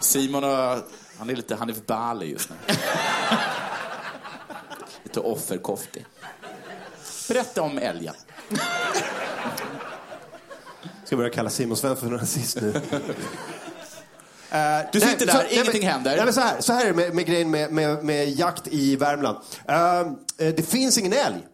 Simon har, han är lite Hanif Bali just nu. lite offerkoftig. Berätta om älgen.
Ska börja kalla Simon Svensson för nazist nu.
Du sitter där, ingenting
men,
händer.
Eh, Nej, men så, här, så här är det med, med grejen med, med, med jakt i Värmland. Eh, eh, det finns ingen älg.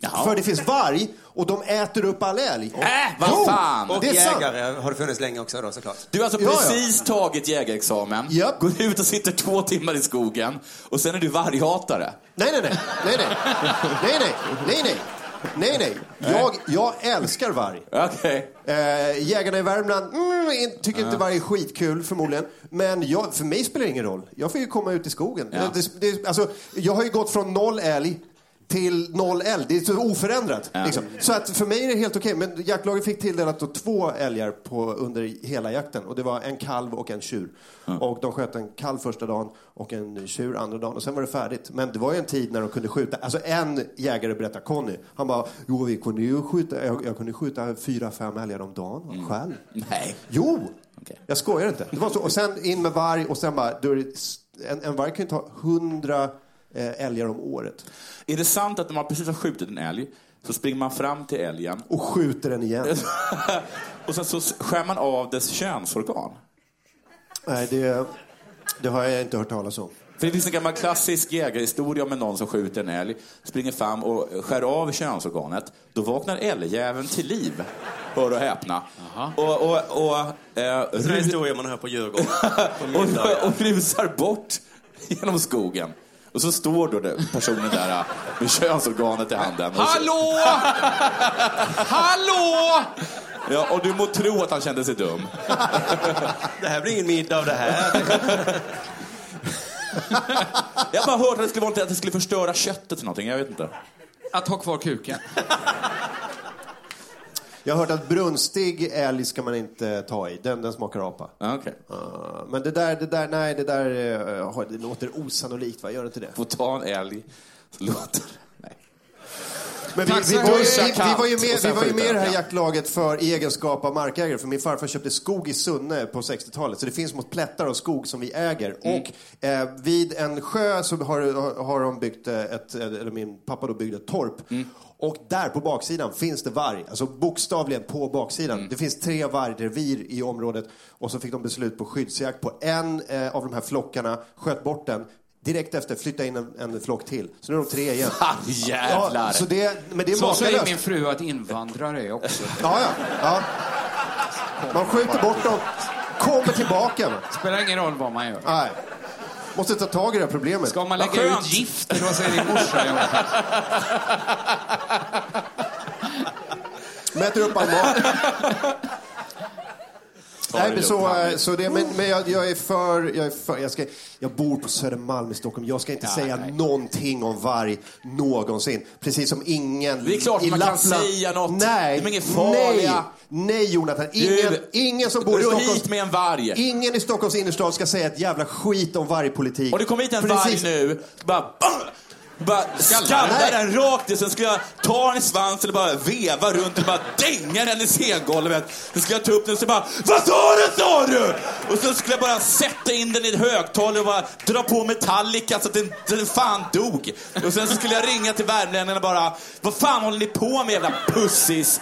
Jaha.
För det finns varg och de äter upp all älg.
Äh, vad
Jo,
fan!
Och
Det är sant.
jägare har det funnits länge också då såklart.
Du har alltså
Ja, ja.
precis tagit jägarexamen,
Japp.
går ut och sitter två timmar i skogen och sen är du varghatare.
Nej, nej, nej. Nej, nej. Nej, nej. Nej, nej. Nej, nej. Jag, jag älskar varg.
Okej.
Eh, jägarna i Värmland mm, in- tycker inte varg är skitkul förmodligen. Men jag, för mig spelar det ingen roll. Jag får ju komma ut i skogen.
Ja.
Det, det, alltså, jag har ju gått från noll älg till noll älg. Det är så oförändrat.
Ja.
Liksom. Så att för mig är det helt okej. Men jaktlaget fick tilldelat då två älgar på, under hela jakten. Och det var en kalv och en tjur.
Mm.
Och de sköt en kalv första dagen och en tjur andra dagen. Och sen var det färdigt. Men det var ju en tid när de kunde skjuta. Alltså en jägare berättar, Conny, han bara, jo vi kunde ju skjuta, jag, jag kunde skjuta fyra, fem älgar om dagen själv.
Mm. Nej.
Jo!
Okej.
Jag skojar inte. Det var så. Och sen in med varg och sen bara, då är det, s- en, en varg kan ju ta hundra eh, älgar om året.
Är det sant att när man precis har skjutit en älg så springer man fram till älgen
Och skjuter den igen.
och sen så skär man av dess könsorgan?
Nej, det, det har jag inte hört talas om.
För det finns en gammal klassisk jägarhistoria med någon som skjuter en älg, springer fram och skär av könsorganet. Då vaknar älgjäveln till liv. Hör och häpna. Och, och, och, eh,
Sådana
ru-
historier man hör på Djurgården. På middag,
och,
ja.
och rusar bort genom skogen. Och så står då det- personen där eh, med könsorganet i handen. Och, så,
Hallå! Hallå!
ja, och du må tro att han kände sig dum.
Det här blir ingen middag av det här.
Jag har bara hört att det skulle, vara, att det skulle förstöra köttet eller någonting. Jag vet inte.
Att ha kvar kuken.
Jag har hört att brunstig älg ska man inte ta i. Den, den smakar apa.
Ja, Okej.
Eh, men det där, det där, nej, det där eh, har- det låter osannolikt, va? Gör det inte det?
Får ta en älg så låter Nej.
Men vi,
Tack så
vi,
mycket.
var ju,
Duscha
vi,
kallt och sen
vi var ju med, vi var ju
skjuta.
med i det här
Ja.
jaktlaget för i egenskap av markägare. För min farfar köpte skog i Sunne på 60-talet. Så det finns mot plättar av skog som vi äger. Och eh, eh, vid en sjö så har, har de byggt eh, ett, eller min pappa då byggde ett torp. Och där på baksidan finns det varg, alltså bokstavligen på baksidan. Det finns tre vargrevir i området och så fick de beslut på skyddsjakt på en eh, av de här flockarna, sköt bort den. Direkt efter flyttade in en, en flock till. Så nu är de tre igen.
Jävlar!
så det, men det är
Så säger
makalöst.
min fru att invandrare är också.
Ja, ja. ja. Man skjuter bort dem, kommer tillbaka. va.
Spelar ingen roll vad man gör.
Nej. Måste ta tag i det här problemet.
Ska man lägga ut gift eller vad säger din morsa? Jonas?
Mäter upp all mat. Nej, men så, eh, så det, men, men jag, jag är för, jag är för jag, ska, jag bor på Södermalm i Stockholm. Jag ska inte säga någonting om varg någonsin. Precis som ingen
Det är klart
i
man kan
Lappland-
säga något.
Nej,
De är inget
nej,
farliga.
nej Jonathan. Ingen,
Du-
ingen som bor i
Gå
Stockholm.
hit med en varg.
Ingen i Stockholms innerstad ska säga ett jävla skit om vargpolitik.
Och det kommer hit en varg
Precis.
nu, bara... Bara skallar
Nej.
den rakt i, sen ska jag ta den i svansen och bara veva runt och bara dänga den i scengolvet. Sen ska jag ta upp den och så bara Vad sa du sa du? Och sen skulle jag bara sätta in den i ett högtalare och bara dra på Metallica så att den, den fan dog. Och sen så skulle jag ringa till värmlänningarna och bara Vad fan håller ni på med jävla pussis?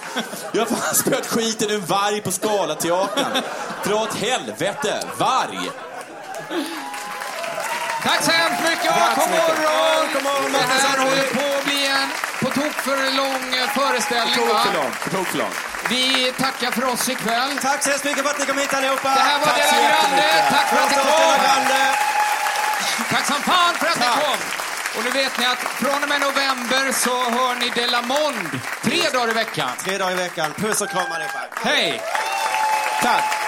Jag har fan spöat skiten ur en varg på Scalateatern. Dra åt helvete, varg!
Tack så hemskt mycket och
Tack så
god
mycket.
morgon!
God morgon,
Det här
Martin.
håller på att bli en på tok för lång eh, föreställning va? Vi tackar för oss ikväll.
Tack så hemskt mycket för att ni kom hit allihopa.
Det här var
Tack så
Della Grande.
jättemycket.
Tack för att ni
Bra
kom.
start, Della Grande.
Tack som fan för att ni
Tack.
kom! Och nu vet ni att från och med november så hör ni Delamond tre dagar i veckan.
Tre dagar i veckan. Puss och kram allihopa.
Hej!
Tack.